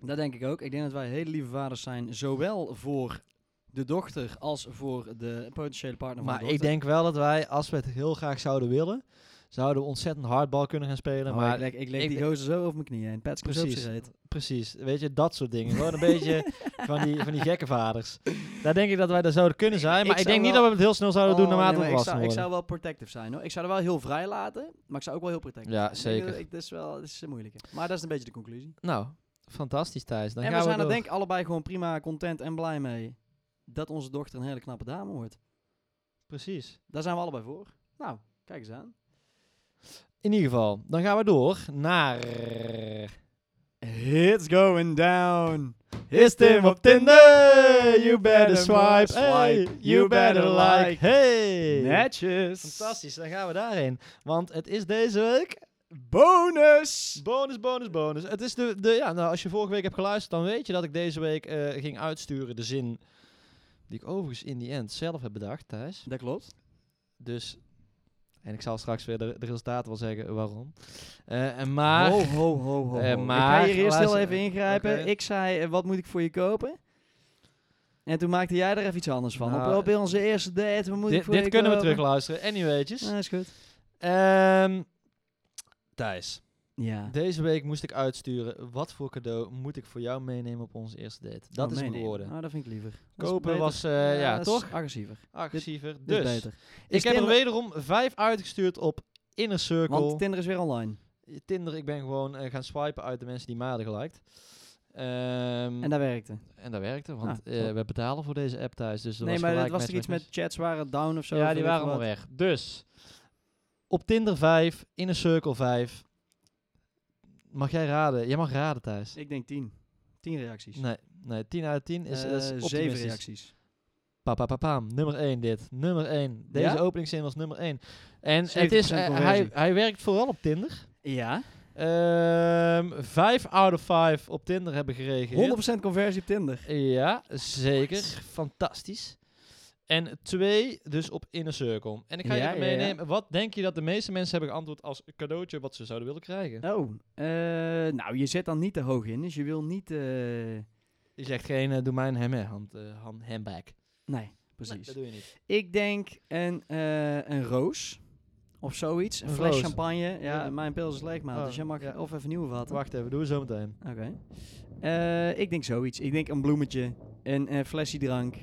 Speaker 1: Dat denk ik ook. Ik denk dat wij hele lieve vaders zijn, zowel voor de dochter als voor de potentiële partner
Speaker 2: Maar
Speaker 1: van de
Speaker 2: ik
Speaker 1: dochter.
Speaker 2: denk wel dat wij, als we het heel graag zouden willen, zouden we ontzettend hardbal kunnen gaan spelen.
Speaker 1: Oh,
Speaker 2: maar
Speaker 1: ik leg, ik leg
Speaker 2: ik
Speaker 1: die
Speaker 2: denk-
Speaker 1: gozer zo over mijn knieën en pets komt zo op
Speaker 2: Precies.
Speaker 1: zijn reet.
Speaker 2: precies, weet je, dat soort dingen. Gewoon een beetje van die, van die gekke vaders. Daar denk ik dat wij daar zouden kunnen zijn.
Speaker 1: ik
Speaker 2: Maar ik,
Speaker 1: zou
Speaker 2: denk niet
Speaker 1: wel-
Speaker 2: dat we het heel snel zouden doen
Speaker 1: Oh,
Speaker 2: naarmate
Speaker 1: nee, maar
Speaker 2: we
Speaker 1: ik, zou,
Speaker 2: volwassen
Speaker 1: ik
Speaker 2: worden.
Speaker 1: zou wel protective zijn hoor. Ik zou er wel heel vrij laten, maar ik zou ook wel heel protective
Speaker 2: Ja,
Speaker 1: zijn. Ik denk dat
Speaker 2: zeker.
Speaker 1: Ik, dat is wel dat is moeilijk. Maar dat is een beetje de conclusie.
Speaker 2: Nou, fantastisch Thijs. Dan
Speaker 1: en
Speaker 2: gaan
Speaker 1: we zijn er
Speaker 2: door.
Speaker 1: denk ik allebei gewoon prima content en blij mee dat onze dochter een hele knappe dame wordt.
Speaker 2: Precies.
Speaker 1: Daar zijn we allebei voor. Nou, kijk eens aan.
Speaker 2: In ieder geval, dan gaan we door naar...
Speaker 1: It's going down.
Speaker 2: Is Tim op Tinder? You better swipe. Hey, you better like. Hey.
Speaker 1: Netjes.
Speaker 2: Fantastisch, dan gaan we daarheen. Want het is deze week
Speaker 1: Bonus.
Speaker 2: bonus, bonus, bonus. Het is de, de ja, nou, als je vorige week hebt geluisterd, dan weet je dat ik deze week eh, ging uitsturen de zin die ik overigens in die end zelf heb bedacht, Thijs.
Speaker 1: Dat klopt.
Speaker 2: Dus, en ik zal straks weer de, de resultaten wel zeggen waarom. Eh, en maar,
Speaker 1: ho, ho, ho, ho.
Speaker 2: Eh,
Speaker 1: ho. ik
Speaker 2: maar-
Speaker 1: ga hier eerst heel
Speaker 2: luister-
Speaker 1: even ingrijpen.
Speaker 2: Oké.
Speaker 1: Ik zei, eh, wat moet ik voor je kopen? En toen maakte jij er even iets anders van.
Speaker 2: Nou,
Speaker 1: op, op onze eerste date, wat moet ik
Speaker 2: dit,
Speaker 1: voor
Speaker 2: dit
Speaker 1: je
Speaker 2: kunnen we
Speaker 1: kopen?
Speaker 2: terugluisteren. Anyways.
Speaker 1: Ah, is goed.
Speaker 2: Ehm, Thijs,
Speaker 1: Ja.
Speaker 2: deze week moest ik uitsturen. Wat voor cadeau moet ik voor jou meenemen op onze eerste date? Dat
Speaker 1: Oh,
Speaker 2: is hem
Speaker 1: meenemen.
Speaker 2: geworden.
Speaker 1: Oh, dat vind ik liever. Dat is
Speaker 2: Kopen
Speaker 1: beter.
Speaker 2: was, eh, ja,
Speaker 1: dat is
Speaker 2: toch?
Speaker 1: agressiever.
Speaker 2: Agressiever.
Speaker 1: Dat is
Speaker 2: Dus,
Speaker 1: beter.
Speaker 2: ik
Speaker 1: Is
Speaker 2: heb er
Speaker 1: Tinder-
Speaker 2: wederom vijf uitgestuurd op Inner Circle.
Speaker 1: Want Tinder is weer online.
Speaker 2: Tinder, ik ben gewoon eh, gaan swipen uit de mensen die maden gelijkt. Ehm,
Speaker 1: En dat werkte.
Speaker 2: en dat werkte, want
Speaker 1: Ah,
Speaker 2: eh,
Speaker 1: top.
Speaker 2: we betalen voor deze app thuis. Dus er
Speaker 1: nee,
Speaker 2: was
Speaker 1: maar het
Speaker 2: gelijk
Speaker 1: was er iets met
Speaker 2: matchmaking.
Speaker 1: chats waren down of zo.
Speaker 2: Ja,
Speaker 1: of
Speaker 2: die
Speaker 1: weet ik
Speaker 2: waren
Speaker 1: veel
Speaker 2: allemaal
Speaker 1: wat.
Speaker 2: weg. Dus, op Tinder 5, Inner Circle 5. Mag jij raden? Jij mag raden thuis.
Speaker 1: Ik denk 10. 10 reacties.
Speaker 2: Nee, nee, 10 uit 10 is,
Speaker 1: Eh,
Speaker 2: dat is
Speaker 1: zeven
Speaker 2: optimistisch.
Speaker 1: reacties.
Speaker 2: Pa, pa, pa, paam. Nummer 1 dit. Nummer 1. Deze
Speaker 1: Ja?
Speaker 2: openingszin was nummer 1. En het is,
Speaker 1: 70%
Speaker 2: eh, hij,
Speaker 1: conversie.
Speaker 2: hij werkt vooral op Tinder.
Speaker 1: Ja.
Speaker 2: Ehm, Vijf out of five op Tinder hebben gereageerd.
Speaker 1: 100% conversie op Tinder.
Speaker 2: Ja, zeker. Fantastisch. En twee, dus op Inner Circle. En ik ga je
Speaker 1: Ja,
Speaker 2: even
Speaker 1: ja, ja.
Speaker 2: meenemen. Wat denk je dat de meeste mensen hebben geantwoord als cadeautje wat ze zouden willen krijgen?
Speaker 1: Oh, eh, nou, je zit dan niet te hoog in, dus je wil niet... eh,
Speaker 2: Je zegt geen, eh, doe mij een hem, hand, eh, hand, handbag.
Speaker 1: Nee,
Speaker 2: Nee,
Speaker 1: precies.
Speaker 2: dat doe je niet.
Speaker 1: Ik denk een, eh, een roos of zoiets. Een
Speaker 2: Een
Speaker 1: fles
Speaker 2: roos.
Speaker 1: champagne. Ja,
Speaker 2: Ja.
Speaker 1: mijn pils is leeg, maat.
Speaker 2: Oh,
Speaker 1: dus jij mag
Speaker 2: ja.
Speaker 1: of even nieuwe vatten.
Speaker 2: Wacht even, doen we zo meteen.
Speaker 1: Oké. Eh, ik denk zoiets. Ik denk een bloemetje, een, een flesje drank.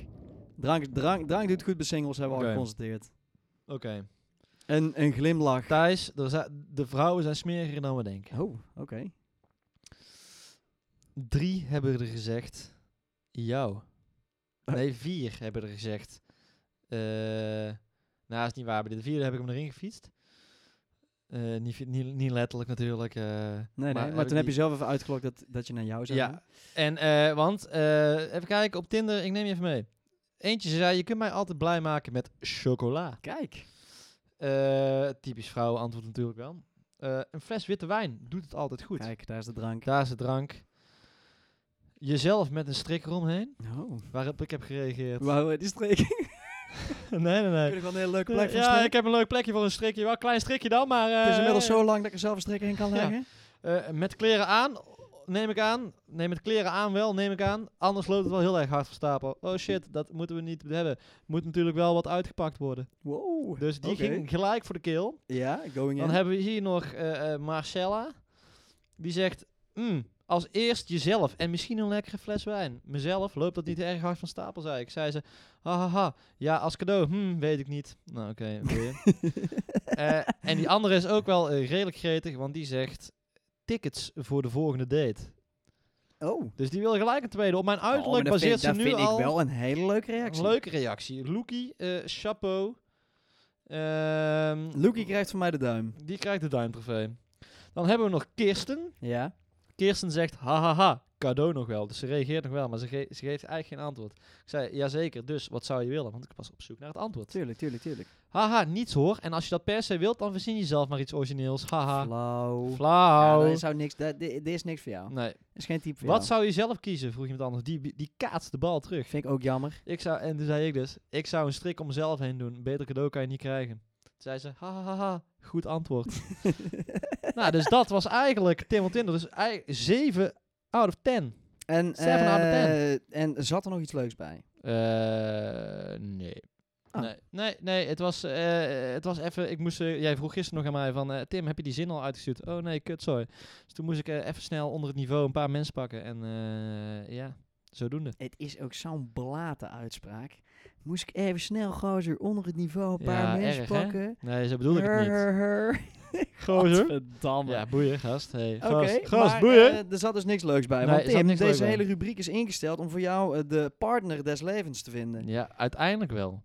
Speaker 1: Drank, drank. drank doet goed bij singles, hebben we
Speaker 2: Oké.
Speaker 1: al geconstateerd.
Speaker 2: Oké.
Speaker 1: Een, een glimlach.
Speaker 2: Thijs, er zi- de vrouwen zijn smeriger dan we denken.
Speaker 1: Oh, oké.
Speaker 2: Drie hebben er gezegd, jou. Nee, vier hebben er gezegd. eh, nou, is niet waar. Bij de vierde heb ik hem erin gefietst. Eh, niet, fi- niet, niet letterlijk natuurlijk. eh,
Speaker 1: Nee, nee, maar, toen
Speaker 2: ik
Speaker 1: heb je
Speaker 2: die-
Speaker 1: zelf even uitgelokt dat, dat je naar jou zou
Speaker 2: Ja,
Speaker 1: gaan.
Speaker 2: en, eh, want, eh, even kijken, op Tinder, ik neem je even mee. Eentje zei, je kunt mij altijd blij maken met chocola.
Speaker 1: Kijk.
Speaker 2: Eh, typisch vrouwen antwoord natuurlijk wel. Eh, een fles witte wijn doet het altijd goed.
Speaker 1: Kijk, daar is de drank.
Speaker 2: Daar is de drank. Jezelf met een strik eromheen,
Speaker 1: Oh.
Speaker 2: waarop ik heb gereageerd.
Speaker 1: Wauw, die streek. Ik
Speaker 2: nee, nee,
Speaker 1: vind
Speaker 2: nee.
Speaker 1: ik wel een hele leuke plek voor een
Speaker 2: ja,
Speaker 1: streek.
Speaker 2: ik heb een leuk plekje voor een strikje. Wel een klein strikje dan, maar... eh,
Speaker 1: Het is inmiddels zo lang dat ik er zelf een strik in kan
Speaker 2: Ja.
Speaker 1: leggen.
Speaker 2: eh, met kleren aan, neem ik aan. Nee, met kleren aan wel, neem ik aan. Anders loopt het wel heel erg hard van stapel. Oh shit, dat moeten we niet hebben. Moet natuurlijk wel wat uitgepakt worden.
Speaker 1: Wow.
Speaker 2: Dus die
Speaker 1: Oké.
Speaker 2: ging gelijk voor de keel.
Speaker 1: Ja, going in.
Speaker 2: Dan hebben we hier nog eh, eh, Marcella. Die zegt, "Mm, als eerst jezelf en misschien een lekkere fles wijn. Mezelf loopt dat niet erg hard van stapel, zei ik. Zei ze, hahaha, ja, als cadeau, hmm, weet ik niet. Nou, oké, boeien. Eh, en die andere is ook wel eh, redelijk gretig, want die zegt, tickets voor de volgende date.
Speaker 1: Oh.
Speaker 2: Dus die wil gelijk een tweede. Op mijn
Speaker 1: Oh, maar
Speaker 2: uiterlijk
Speaker 1: dat vind,
Speaker 2: baseert ze
Speaker 1: dat
Speaker 2: nu
Speaker 1: vind
Speaker 2: al...
Speaker 1: ik wel een hele leuke reactie.
Speaker 2: Een leuke reactie. Loekie, eh, chapeau. Ehm,
Speaker 1: Loekie krijgt van mij de duim.
Speaker 2: die krijgt de duimtrofee. Dan hebben we nog Kirsten.
Speaker 1: Ja.
Speaker 2: Kirsten zegt, hahaha, cadeau nog wel. Dus ze reageert nog wel, maar ze, ge- ze geeft eigenlijk geen antwoord. Ik zei, jazeker, dus wat zou je willen? Want ik was op zoek naar het antwoord.
Speaker 1: Tuurlijk, tuurlijk, tuurlijk.
Speaker 2: Haha, niets hoor. En als je dat per se wilt, dan verzin je zelf maar iets origineels. Haha,
Speaker 1: Flauw.
Speaker 2: Ah. flauw.
Speaker 1: Ja, dat zou niks, dat, dit, dit is niks voor jou.
Speaker 2: nee.
Speaker 1: Dat is geen type voor
Speaker 2: Wat
Speaker 1: jou.
Speaker 2: zou je zelf kiezen, vroeg iemand anders. Die, die kaatst de bal terug.
Speaker 1: Vind ik ook jammer.
Speaker 2: Ik zou, en toen zei ik dus, ik zou een strik om mezelf heen doen. Beter cadeau kan je niet krijgen. Toen zei ze, hahaha, goed antwoord. nou, dus dat was eigenlijk Tim on Tinder. Dus 7 out of 10.
Speaker 1: En,
Speaker 2: Seven out of
Speaker 1: eh, en zat er nog iets leuks bij?
Speaker 2: Eh, nee.
Speaker 1: Ah.
Speaker 2: Nee, nee, nee, het was, eh, het was even, ik moest, eh, jij vroeg gisteren nog aan mij van, eh, Tim, heb je die zin al uitgestuurd? Oh nee, kut, sorry. Dus toen moest ik eh, even snel onder het niveau een paar mensen pakken en eh, ja, zodoende.
Speaker 1: Het is ook zo'n blate uitspraak. Moest ik even snel gozer onder het niveau een paar
Speaker 2: Ja,
Speaker 1: mensen
Speaker 2: erg, hè?
Speaker 1: pakken.
Speaker 2: Nee, zo bedoelde ik het niet. Gozer.
Speaker 1: Godverdamme.
Speaker 2: Ja, boeien, gast. Hey,
Speaker 1: Oké,
Speaker 2: gast, gast,
Speaker 1: maar
Speaker 2: boeien.
Speaker 1: eh, er zat dus niks leuks bij.
Speaker 2: Nee,
Speaker 1: want
Speaker 2: er zat
Speaker 1: Tim,
Speaker 2: niks leuks
Speaker 1: deze
Speaker 2: bij.
Speaker 1: hele rubriek is ingesteld om voor jou eh, de partner des levens te vinden.
Speaker 2: Ja, uiteindelijk wel.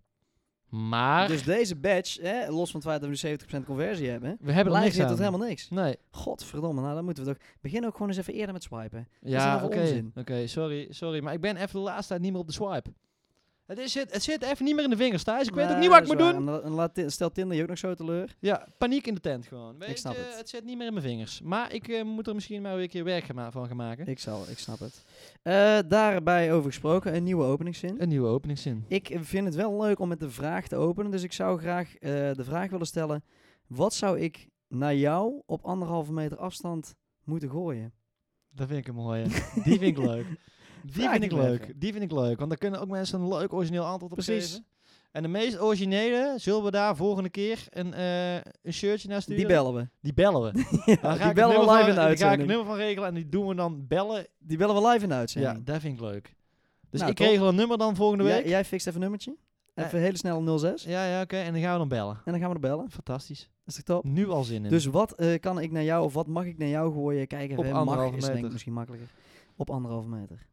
Speaker 2: Maar
Speaker 1: Dus deze badge, hè, los van het feit dat we nu 70% conversie hebben,
Speaker 2: we hebben er
Speaker 1: lijkt
Speaker 2: niks
Speaker 1: dit
Speaker 2: aan.
Speaker 1: tot helemaal niks.
Speaker 2: Nee.
Speaker 1: Godverdomme, nou dan moeten we toch... Begin ook gewoon eens even eerder met swipen.
Speaker 2: Ja,
Speaker 1: nou voor
Speaker 2: oké.
Speaker 1: onzin?
Speaker 2: Oké, sorry, sorry. Maar ik ben even de laatste tijd niet meer op de swipe. Het, is, het, het zit even niet meer in de vingers, Thijs. Ik weet ook
Speaker 1: Nee,
Speaker 2: niet wat ik
Speaker 1: Nou, dat
Speaker 2: moet
Speaker 1: is
Speaker 2: doen.
Speaker 1: waar. En la- en laat Tin- stel Tinder je ook nog zo teleur.
Speaker 2: Ja, paniek in de tent gewoon. Weet
Speaker 1: snap
Speaker 2: je,
Speaker 1: het.
Speaker 2: het. zit niet meer in mijn vingers. Maar ik eh, moet er misschien maar weer een keer werk gaan ma- van gaan maken.
Speaker 1: Ik zal, ik snap het. Eh, daarbij over gesproken, een nieuwe openingszin.
Speaker 2: Een nieuwe openingszin.
Speaker 1: Ik vind het wel leuk om met de vraag te openen, dus ik zou graag eh, de vraag willen stellen. Wat zou ik naar jou op anderhalve meter afstand moeten gooien?
Speaker 2: Dat vind ik een mooie. Die vind ik leuk. Die
Speaker 1: Vraag
Speaker 2: vind ik
Speaker 1: ik me
Speaker 2: leuk.
Speaker 1: even.
Speaker 2: Die vind ik leuk. Want daar kunnen ook mensen een leuk origineel antwoord op
Speaker 1: Precies.
Speaker 2: geven. En de meest originele zullen we daar volgende keer een, eh, een shirtje naar sturen.
Speaker 1: Die bellen we.
Speaker 2: Die bellen we. Dan
Speaker 1: die
Speaker 2: ga ik het
Speaker 1: bellen we
Speaker 2: nummer
Speaker 1: live
Speaker 2: van-
Speaker 1: in de
Speaker 2: Dan ga ik het
Speaker 1: uitzending.
Speaker 2: nummer van regelen en die doen we dan bellen.
Speaker 1: Die bellen we live in de
Speaker 2: Ja,
Speaker 1: uitzending.
Speaker 2: dat vind ik leuk. Dus
Speaker 1: Nou,
Speaker 2: ik
Speaker 1: top.
Speaker 2: regel een nummer dan volgende
Speaker 1: Jij-
Speaker 2: week. Ja,
Speaker 1: jij fixt even een nummertje. Even hele snel 06.
Speaker 2: ja, oké. En dan gaan we dan bellen.
Speaker 1: En dan gaan we er bellen.
Speaker 2: Fantastisch.
Speaker 1: Is toch top?
Speaker 2: Nu al zin in.
Speaker 1: Dus wat eh, kan ik naar jou of wat mag ik naar jou gooien? Kijk even,
Speaker 2: Op
Speaker 1: hè, mag
Speaker 2: anderhalve
Speaker 1: is denk ik
Speaker 2: meter.
Speaker 1: misschien makkelijker. Op anderhalve meter.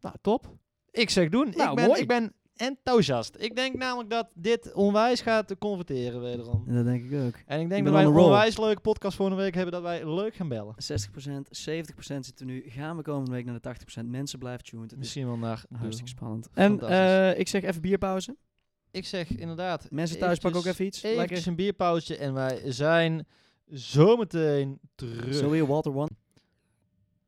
Speaker 2: nou, top. Ik zeg doen.
Speaker 1: Nou,
Speaker 2: ik, ben,
Speaker 1: mooi.
Speaker 2: ik ben enthousiast. Ik denk namelijk dat dit onwijs gaat converteren wederom.
Speaker 1: En dat denk ik ook.
Speaker 2: En
Speaker 1: ben
Speaker 2: ik denk dat wij
Speaker 1: on
Speaker 2: een
Speaker 1: a roll.
Speaker 2: onwijs leuke podcast volgende week hebben dat wij leuk gaan bellen.
Speaker 1: 60%, 70% zitten we nu. Gaan we komende week naar de 80%. Mensen blijven tuned. Het is
Speaker 2: Misschien wel naar de-
Speaker 1: hartstikke spannend. En
Speaker 2: Fantastisch.
Speaker 1: eh, ik zeg even bierpauze.
Speaker 2: Ik zeg inderdaad.
Speaker 1: Mensen thuis pakken ook
Speaker 2: eventjes-
Speaker 1: even iets.
Speaker 2: Eventjes
Speaker 1: Lekker.
Speaker 2: een bierpauze en wij zijn zometeen terug.
Speaker 1: Zo weer Walter One.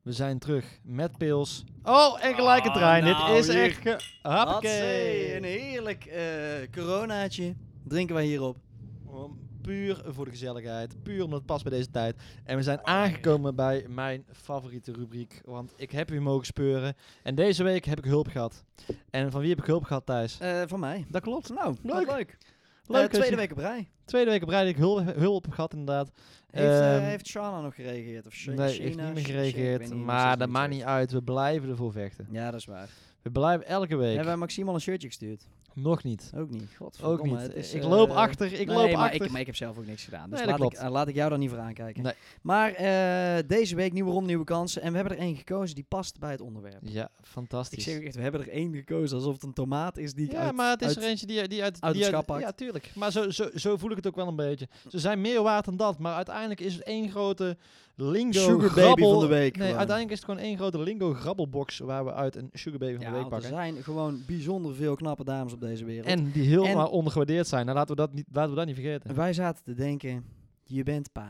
Speaker 2: We zijn terug met pils. Oh, en gelijk een
Speaker 1: Ah,
Speaker 2: trein.
Speaker 1: nou,
Speaker 2: Dit is
Speaker 1: hier.
Speaker 2: echt... ge-
Speaker 1: Hatsé, Een
Speaker 2: Hoppakee.
Speaker 1: heerlijk eh, coronaatje drinken wij hierop.
Speaker 2: Om- Puur voor de gezelligheid. Puur omdat het past bij deze tijd. En we zijn aangekomen bij mijn favoriete rubriek. Want ik heb u mogen speuren. En deze week heb ik hulp gehad. En van wie heb ik hulp gehad, Thijs?
Speaker 1: Eh, van mij.
Speaker 2: Dat klopt.
Speaker 1: Nou,
Speaker 2: Leuk.
Speaker 1: leuk. leuk. Leuk,
Speaker 2: dat
Speaker 1: tweede
Speaker 2: je-
Speaker 1: week op rij.
Speaker 2: Tweede week op rij dat ik hulp, hulp heb gehad, inderdaad.
Speaker 1: Heeft, eh,
Speaker 2: Ehm,
Speaker 1: heeft Shana nog gereageerd? Of Shana?
Speaker 2: nee, heeft niet meer gereageerd. Maar dat maakt niet uit. We blijven ervoor vechten.
Speaker 1: Ja, dat is waar.
Speaker 2: We blijven elke week.
Speaker 1: Hebben wij Maxime al een shirtje gestuurd?
Speaker 2: Nog niet.
Speaker 1: Ook niet.
Speaker 2: Ook
Speaker 1: Godverdomme.
Speaker 2: niet.
Speaker 1: het is,
Speaker 2: ik loop
Speaker 1: eh,
Speaker 2: achter. Ik
Speaker 1: nee,
Speaker 2: loop
Speaker 1: maar
Speaker 2: achter.
Speaker 1: Ik, maar ik heb zelf ook niks gedaan. Dus
Speaker 2: Nee, dat
Speaker 1: laat, ik,
Speaker 2: klopt.
Speaker 1: eh, laat ik jou daar niet voor aankijken.
Speaker 2: Nee.
Speaker 1: Maar eh, deze week nieuwe ronde, nieuwe kansen. En we hebben er één gekozen die past bij het onderwerp.
Speaker 2: Ja,
Speaker 1: Ik
Speaker 2: fantastisch.
Speaker 1: zeg ook echt, we hebben er één gekozen alsof het een tomaat is die ik
Speaker 2: ja,
Speaker 1: uit...
Speaker 2: maar het is
Speaker 1: uit-
Speaker 2: er eentje die die uit,
Speaker 1: uit
Speaker 2: die
Speaker 1: het schap pakt.
Speaker 2: Ja, tuurlijk. Maar zo, zo, zo voel ik het ook wel een beetje. Ze zijn meer waard dan dat, maar uiteindelijk is het één grote lingo
Speaker 1: Sugar baby
Speaker 2: grabbel.
Speaker 1: van de week
Speaker 2: Nee,
Speaker 1: gewoon.
Speaker 2: uiteindelijk is het gewoon één grote lingo grabbelbox waar we uit een sugar baby van
Speaker 1: Ja,
Speaker 2: de week
Speaker 1: want er
Speaker 2: pakken.
Speaker 1: zijn gewoon bijzonder veel knappe dames op deze wereld. En,
Speaker 2: En die heel
Speaker 1: En-
Speaker 2: maar ondergewaardeerd zijn. Nou, laten we dat niet, laten we dat niet vergeten.
Speaker 1: wij zaten te denken, je bent pa.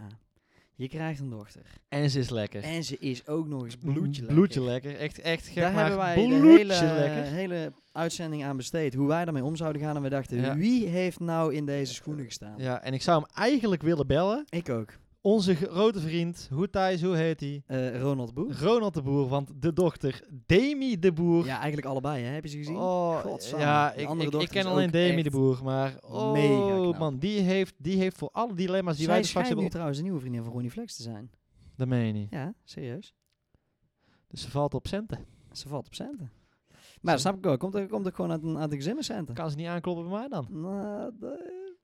Speaker 1: Je krijgt een dochter.
Speaker 2: En ze is lekker.
Speaker 1: En ze is ook nog eens bloedje lekker.
Speaker 2: Bloedje lekker. Echt, echt gek,
Speaker 1: Daar
Speaker 2: maar
Speaker 1: hebben wij de
Speaker 2: bloedje
Speaker 1: hele,
Speaker 2: lekker.
Speaker 1: hele uitzending aan besteed. Hoe wij daarmee om zouden gaan. En we dachten,
Speaker 2: Ja.
Speaker 1: wie heeft nou in deze schoenen gestaan?
Speaker 2: Ja, en ik zou hem eigenlijk willen bellen.
Speaker 1: Ik ook.
Speaker 2: Onze grote vriend, hoe Thijs, hoe heet hij?
Speaker 1: Eh, Ronald Boer.
Speaker 2: Ronald de Boer, want de dochter Demi de Boer.
Speaker 1: Ja, eigenlijk allebei, hè? Heb je ze gezien?
Speaker 2: Oh,
Speaker 1: Godsamme.
Speaker 2: ja,
Speaker 1: Die
Speaker 2: ik,
Speaker 1: andere
Speaker 2: ik, ik
Speaker 1: dochter
Speaker 2: ken
Speaker 1: is
Speaker 2: alleen
Speaker 1: ook
Speaker 2: Demi
Speaker 1: echt
Speaker 2: de Boer, maar oh
Speaker 1: mega knap.
Speaker 2: man, die heeft, die heeft voor alle dilemma's die
Speaker 1: Zij
Speaker 2: wij straks
Speaker 1: schijnt nu
Speaker 2: hebben.
Speaker 1: trouwens een nieuwe vriendin van Ronnie Flex te zijn.
Speaker 2: op- Dat meen je niet.
Speaker 1: Ja, serieus.
Speaker 2: Dus ze valt op centen.
Speaker 1: Ze valt op centen. Maar dat snap ik ook. Komt er, komt er gewoon uit, een- uit de gezinnen centen?
Speaker 2: Kan ze niet aankloppen bij mij dan?
Speaker 1: Nou, dat,
Speaker 2: Dat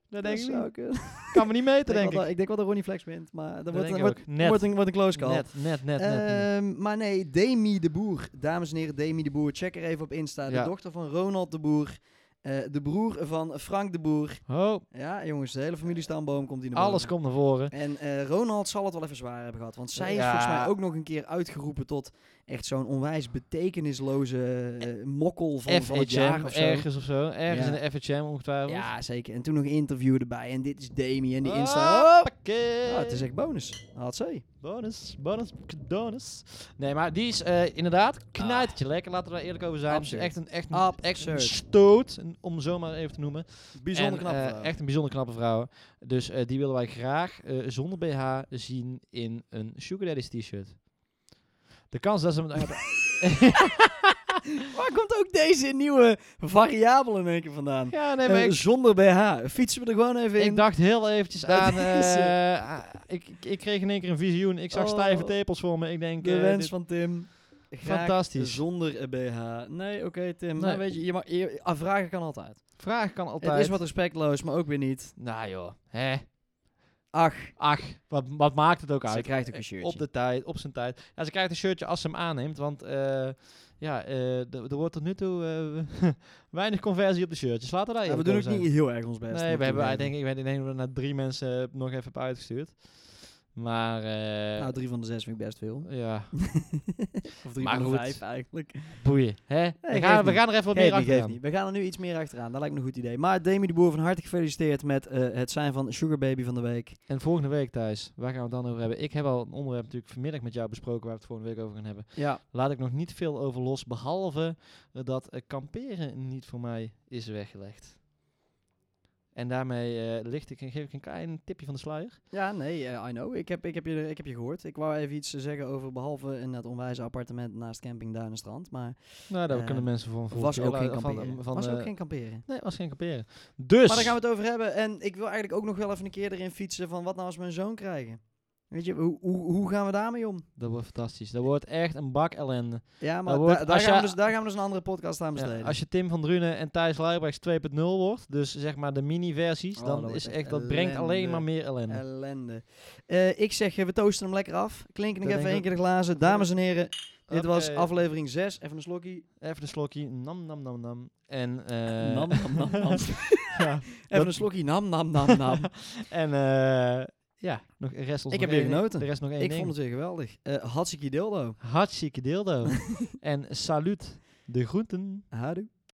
Speaker 1: dat
Speaker 2: denk ik
Speaker 1: zou
Speaker 2: niet.
Speaker 1: kunnen. Ik
Speaker 2: Kan me niet meten,
Speaker 1: denk
Speaker 2: denk
Speaker 1: wel dat-
Speaker 2: ik.
Speaker 1: ik denk wel dat Ronnie Flex wint, maar dat
Speaker 2: Dat
Speaker 1: wordt,
Speaker 2: denk ik
Speaker 1: wordt,
Speaker 2: ook. Net.
Speaker 1: wordt een, wordt een close call.
Speaker 2: Net, net, net, net.
Speaker 1: Ehm, maar nee, Demi de Boer. Dames en heren, Demi de Boer. Check er even op Insta.
Speaker 2: Ja.
Speaker 1: De dochter van Ronald de Boer. Eh, de broer van Frank de Boer.
Speaker 2: Oh,
Speaker 1: Ja, jongens, de hele familie Stamboom komt hier naar
Speaker 2: alles
Speaker 1: boven.
Speaker 2: komt naar voren.
Speaker 1: En eh, Ronald zal het wel even zwaar hebben gehad. Want zij is
Speaker 2: Ja.
Speaker 1: volgens mij ook nog een keer uitgeroepen tot echt zo'n onwijs betekenisloze eh, mokkel van, van het jaar
Speaker 2: FHM,
Speaker 1: of zo.
Speaker 2: ergens of zo. Ergens
Speaker 1: Ja.
Speaker 2: in de FHM ongetwijfeld.
Speaker 1: Ja, zeker. En toen nog een interview erbij. En dit is Demi en die Insta.
Speaker 2: Insta.
Speaker 1: Oh, het is echt bonus. Had ze.
Speaker 2: Bonus, bonus, bonus. Nee, maar die is eh, inderdaad knijtertje lekker, laten we daar eerlijk over zijn.
Speaker 1: Absurd.
Speaker 2: Echt een, echt een,
Speaker 1: Ah. Absurd.
Speaker 2: echt een stoot, een- om zo maar even te noemen.
Speaker 1: Bijzonder
Speaker 2: En,
Speaker 1: knap.
Speaker 2: eh,
Speaker 1: vrouw.
Speaker 2: echt een bijzonder knappe vrouw. Dus eh, die willen wij graag eh, zonder BH zien in een Sugar Daddy's t-shirt. De kans dat ze hem...
Speaker 1: Waar komt ook deze nieuwe variabele in één keer vandaan?
Speaker 2: ja, nee, maar
Speaker 1: Eh,
Speaker 2: ik,
Speaker 1: zonder BH. Fietsen we er gewoon even in.
Speaker 2: ik dacht heel eventjes
Speaker 1: Dat
Speaker 2: aan...
Speaker 1: is,
Speaker 2: eh, ah, ik, ik, ik kreeg in één keer een visioen. Ik zag
Speaker 1: Oh.
Speaker 2: stijve tepels voor me. Ik denk...
Speaker 1: de
Speaker 2: eh,
Speaker 1: wens
Speaker 2: dit-
Speaker 1: van Tim. Graag
Speaker 2: Fantastisch.
Speaker 1: Zonder een BH. Nee, oké Tim.
Speaker 2: Nee.
Speaker 1: Nou, weet je, je, mag, je- afvragen kan altijd.
Speaker 2: Vraag kan altijd...
Speaker 1: Het is wat respectloos, maar ook weer niet.
Speaker 2: Nou joh, hè?
Speaker 1: Ach,
Speaker 2: Ach, wat, wat maakt het ook
Speaker 1: ze
Speaker 2: uit?
Speaker 1: krijgt ook een
Speaker 2: Eh,
Speaker 1: shirtje.
Speaker 2: Op de tijd, op zijn tijd. Ja, ze krijgt een shirtje als ze hem aanneemt, want eh, ja, eh, d- er wordt tot nu toe eh, weinig conversie op de shirtjes. Laten we daar
Speaker 1: Ja, we
Speaker 2: eerlijk
Speaker 1: doen ook
Speaker 2: over zijn.
Speaker 1: niet heel erg ons best. moet
Speaker 2: Nee,
Speaker 1: ik
Speaker 2: we hebben, ik
Speaker 1: toegeven.
Speaker 2: denk ik, weet- ik denk dat we naar drie mensen eh, nog even hebben uitgestuurd. Maar eh,
Speaker 1: Nou, drie van de zes vind ik best veel.
Speaker 2: ja,
Speaker 1: Of drie
Speaker 2: Maar
Speaker 1: van de
Speaker 2: goed.
Speaker 1: vijf eigenlijk.
Speaker 2: boeien. Hè? we,
Speaker 1: geeft
Speaker 2: gaan, we
Speaker 1: niet.
Speaker 2: gaan er even wat meer
Speaker 1: Geeft niet,
Speaker 2: achter
Speaker 1: geeft niet. We gaan er nu iets meer achteraan. Dat lijkt me een goed idee. Maar Demi de Boer, van harte gefeliciteerd met eh, het zijn van Sugar Baby van de week.
Speaker 2: En volgende week, Thijs, waar gaan we het dan over hebben? Ik heb al een onderwerp natuurlijk vanmiddag met jou besproken waar we het volgende week over gaan hebben.
Speaker 1: Ja,
Speaker 2: Laat ik nog niet veel over los, behalve eh, dat eh, kamperen niet voor mij is weggelegd. En daarmee eh, licht ik, en geef ik een klein tipje van de sluier.
Speaker 1: Ja, nee, eh, I know. Ik heb, ik, heb je, ik heb je gehoord. Ik wou even iets eh, zeggen over, behalve in dat onwijze appartement naast Camping Duin en Strand. Maar
Speaker 2: Nou, daar
Speaker 1: Eh,
Speaker 2: kunnen mensen voor een
Speaker 1: was ook geen
Speaker 2: volgende keer lu-
Speaker 1: kamperen.
Speaker 2: Van, van,
Speaker 1: was ook
Speaker 2: eh,
Speaker 1: geen kamperen.
Speaker 2: Nee, was geen kamperen. Dus,
Speaker 1: Maar daar gaan we het over hebben. En ik wil eigenlijk ook nog wel even een keer erin fietsen van wat nou als we een zoon krijgen. Weet je, hoe, hoe, hoe gaan we daarmee om?
Speaker 2: dat wordt fantastisch. Dat wordt echt een bak ellende.
Speaker 1: Ja, maar
Speaker 2: Dat
Speaker 1: da-
Speaker 2: wordt-
Speaker 1: daar,
Speaker 2: Nou, als
Speaker 1: gaan
Speaker 2: je-
Speaker 1: we dus, daar gaan we dus een andere podcast aan
Speaker 2: Ja,
Speaker 1: besteden.
Speaker 2: als je Tim van Drunen en Thijs Luijbrechts 2.0 wordt, dus zeg maar de mini-versies,
Speaker 1: Oh, dat
Speaker 2: dan
Speaker 1: wordt
Speaker 2: is
Speaker 1: echt
Speaker 2: echt, dat brengt alleen
Speaker 1: ellende.
Speaker 2: maar meer ellende.
Speaker 1: Ellende. Eh, ik zeg, eh, we toosten hem lekker af. Klinken nog
Speaker 2: Dat
Speaker 1: even
Speaker 2: denk
Speaker 1: één
Speaker 2: ik
Speaker 1: keer de glazen. Dames en heren, dit was
Speaker 2: Oké,
Speaker 1: aflevering 6. Even een slokkie.
Speaker 2: Even een slokje, nam nam nam nam. En, eh,
Speaker 1: nam, nam, nam, nam.
Speaker 2: ja,
Speaker 1: Even een slokkie. Nam, nam, nam, nam.
Speaker 2: En eh, ja, nog de rest ons
Speaker 1: Ik
Speaker 2: nog
Speaker 1: heb weer
Speaker 2: één-
Speaker 1: genoten.
Speaker 2: De rest nog één
Speaker 1: Ik
Speaker 2: ding.
Speaker 1: vond het weer geweldig. Eh Hatsiki dildo.
Speaker 2: Hartstikke dildo. en salut de groenten.
Speaker 1: Houdoe.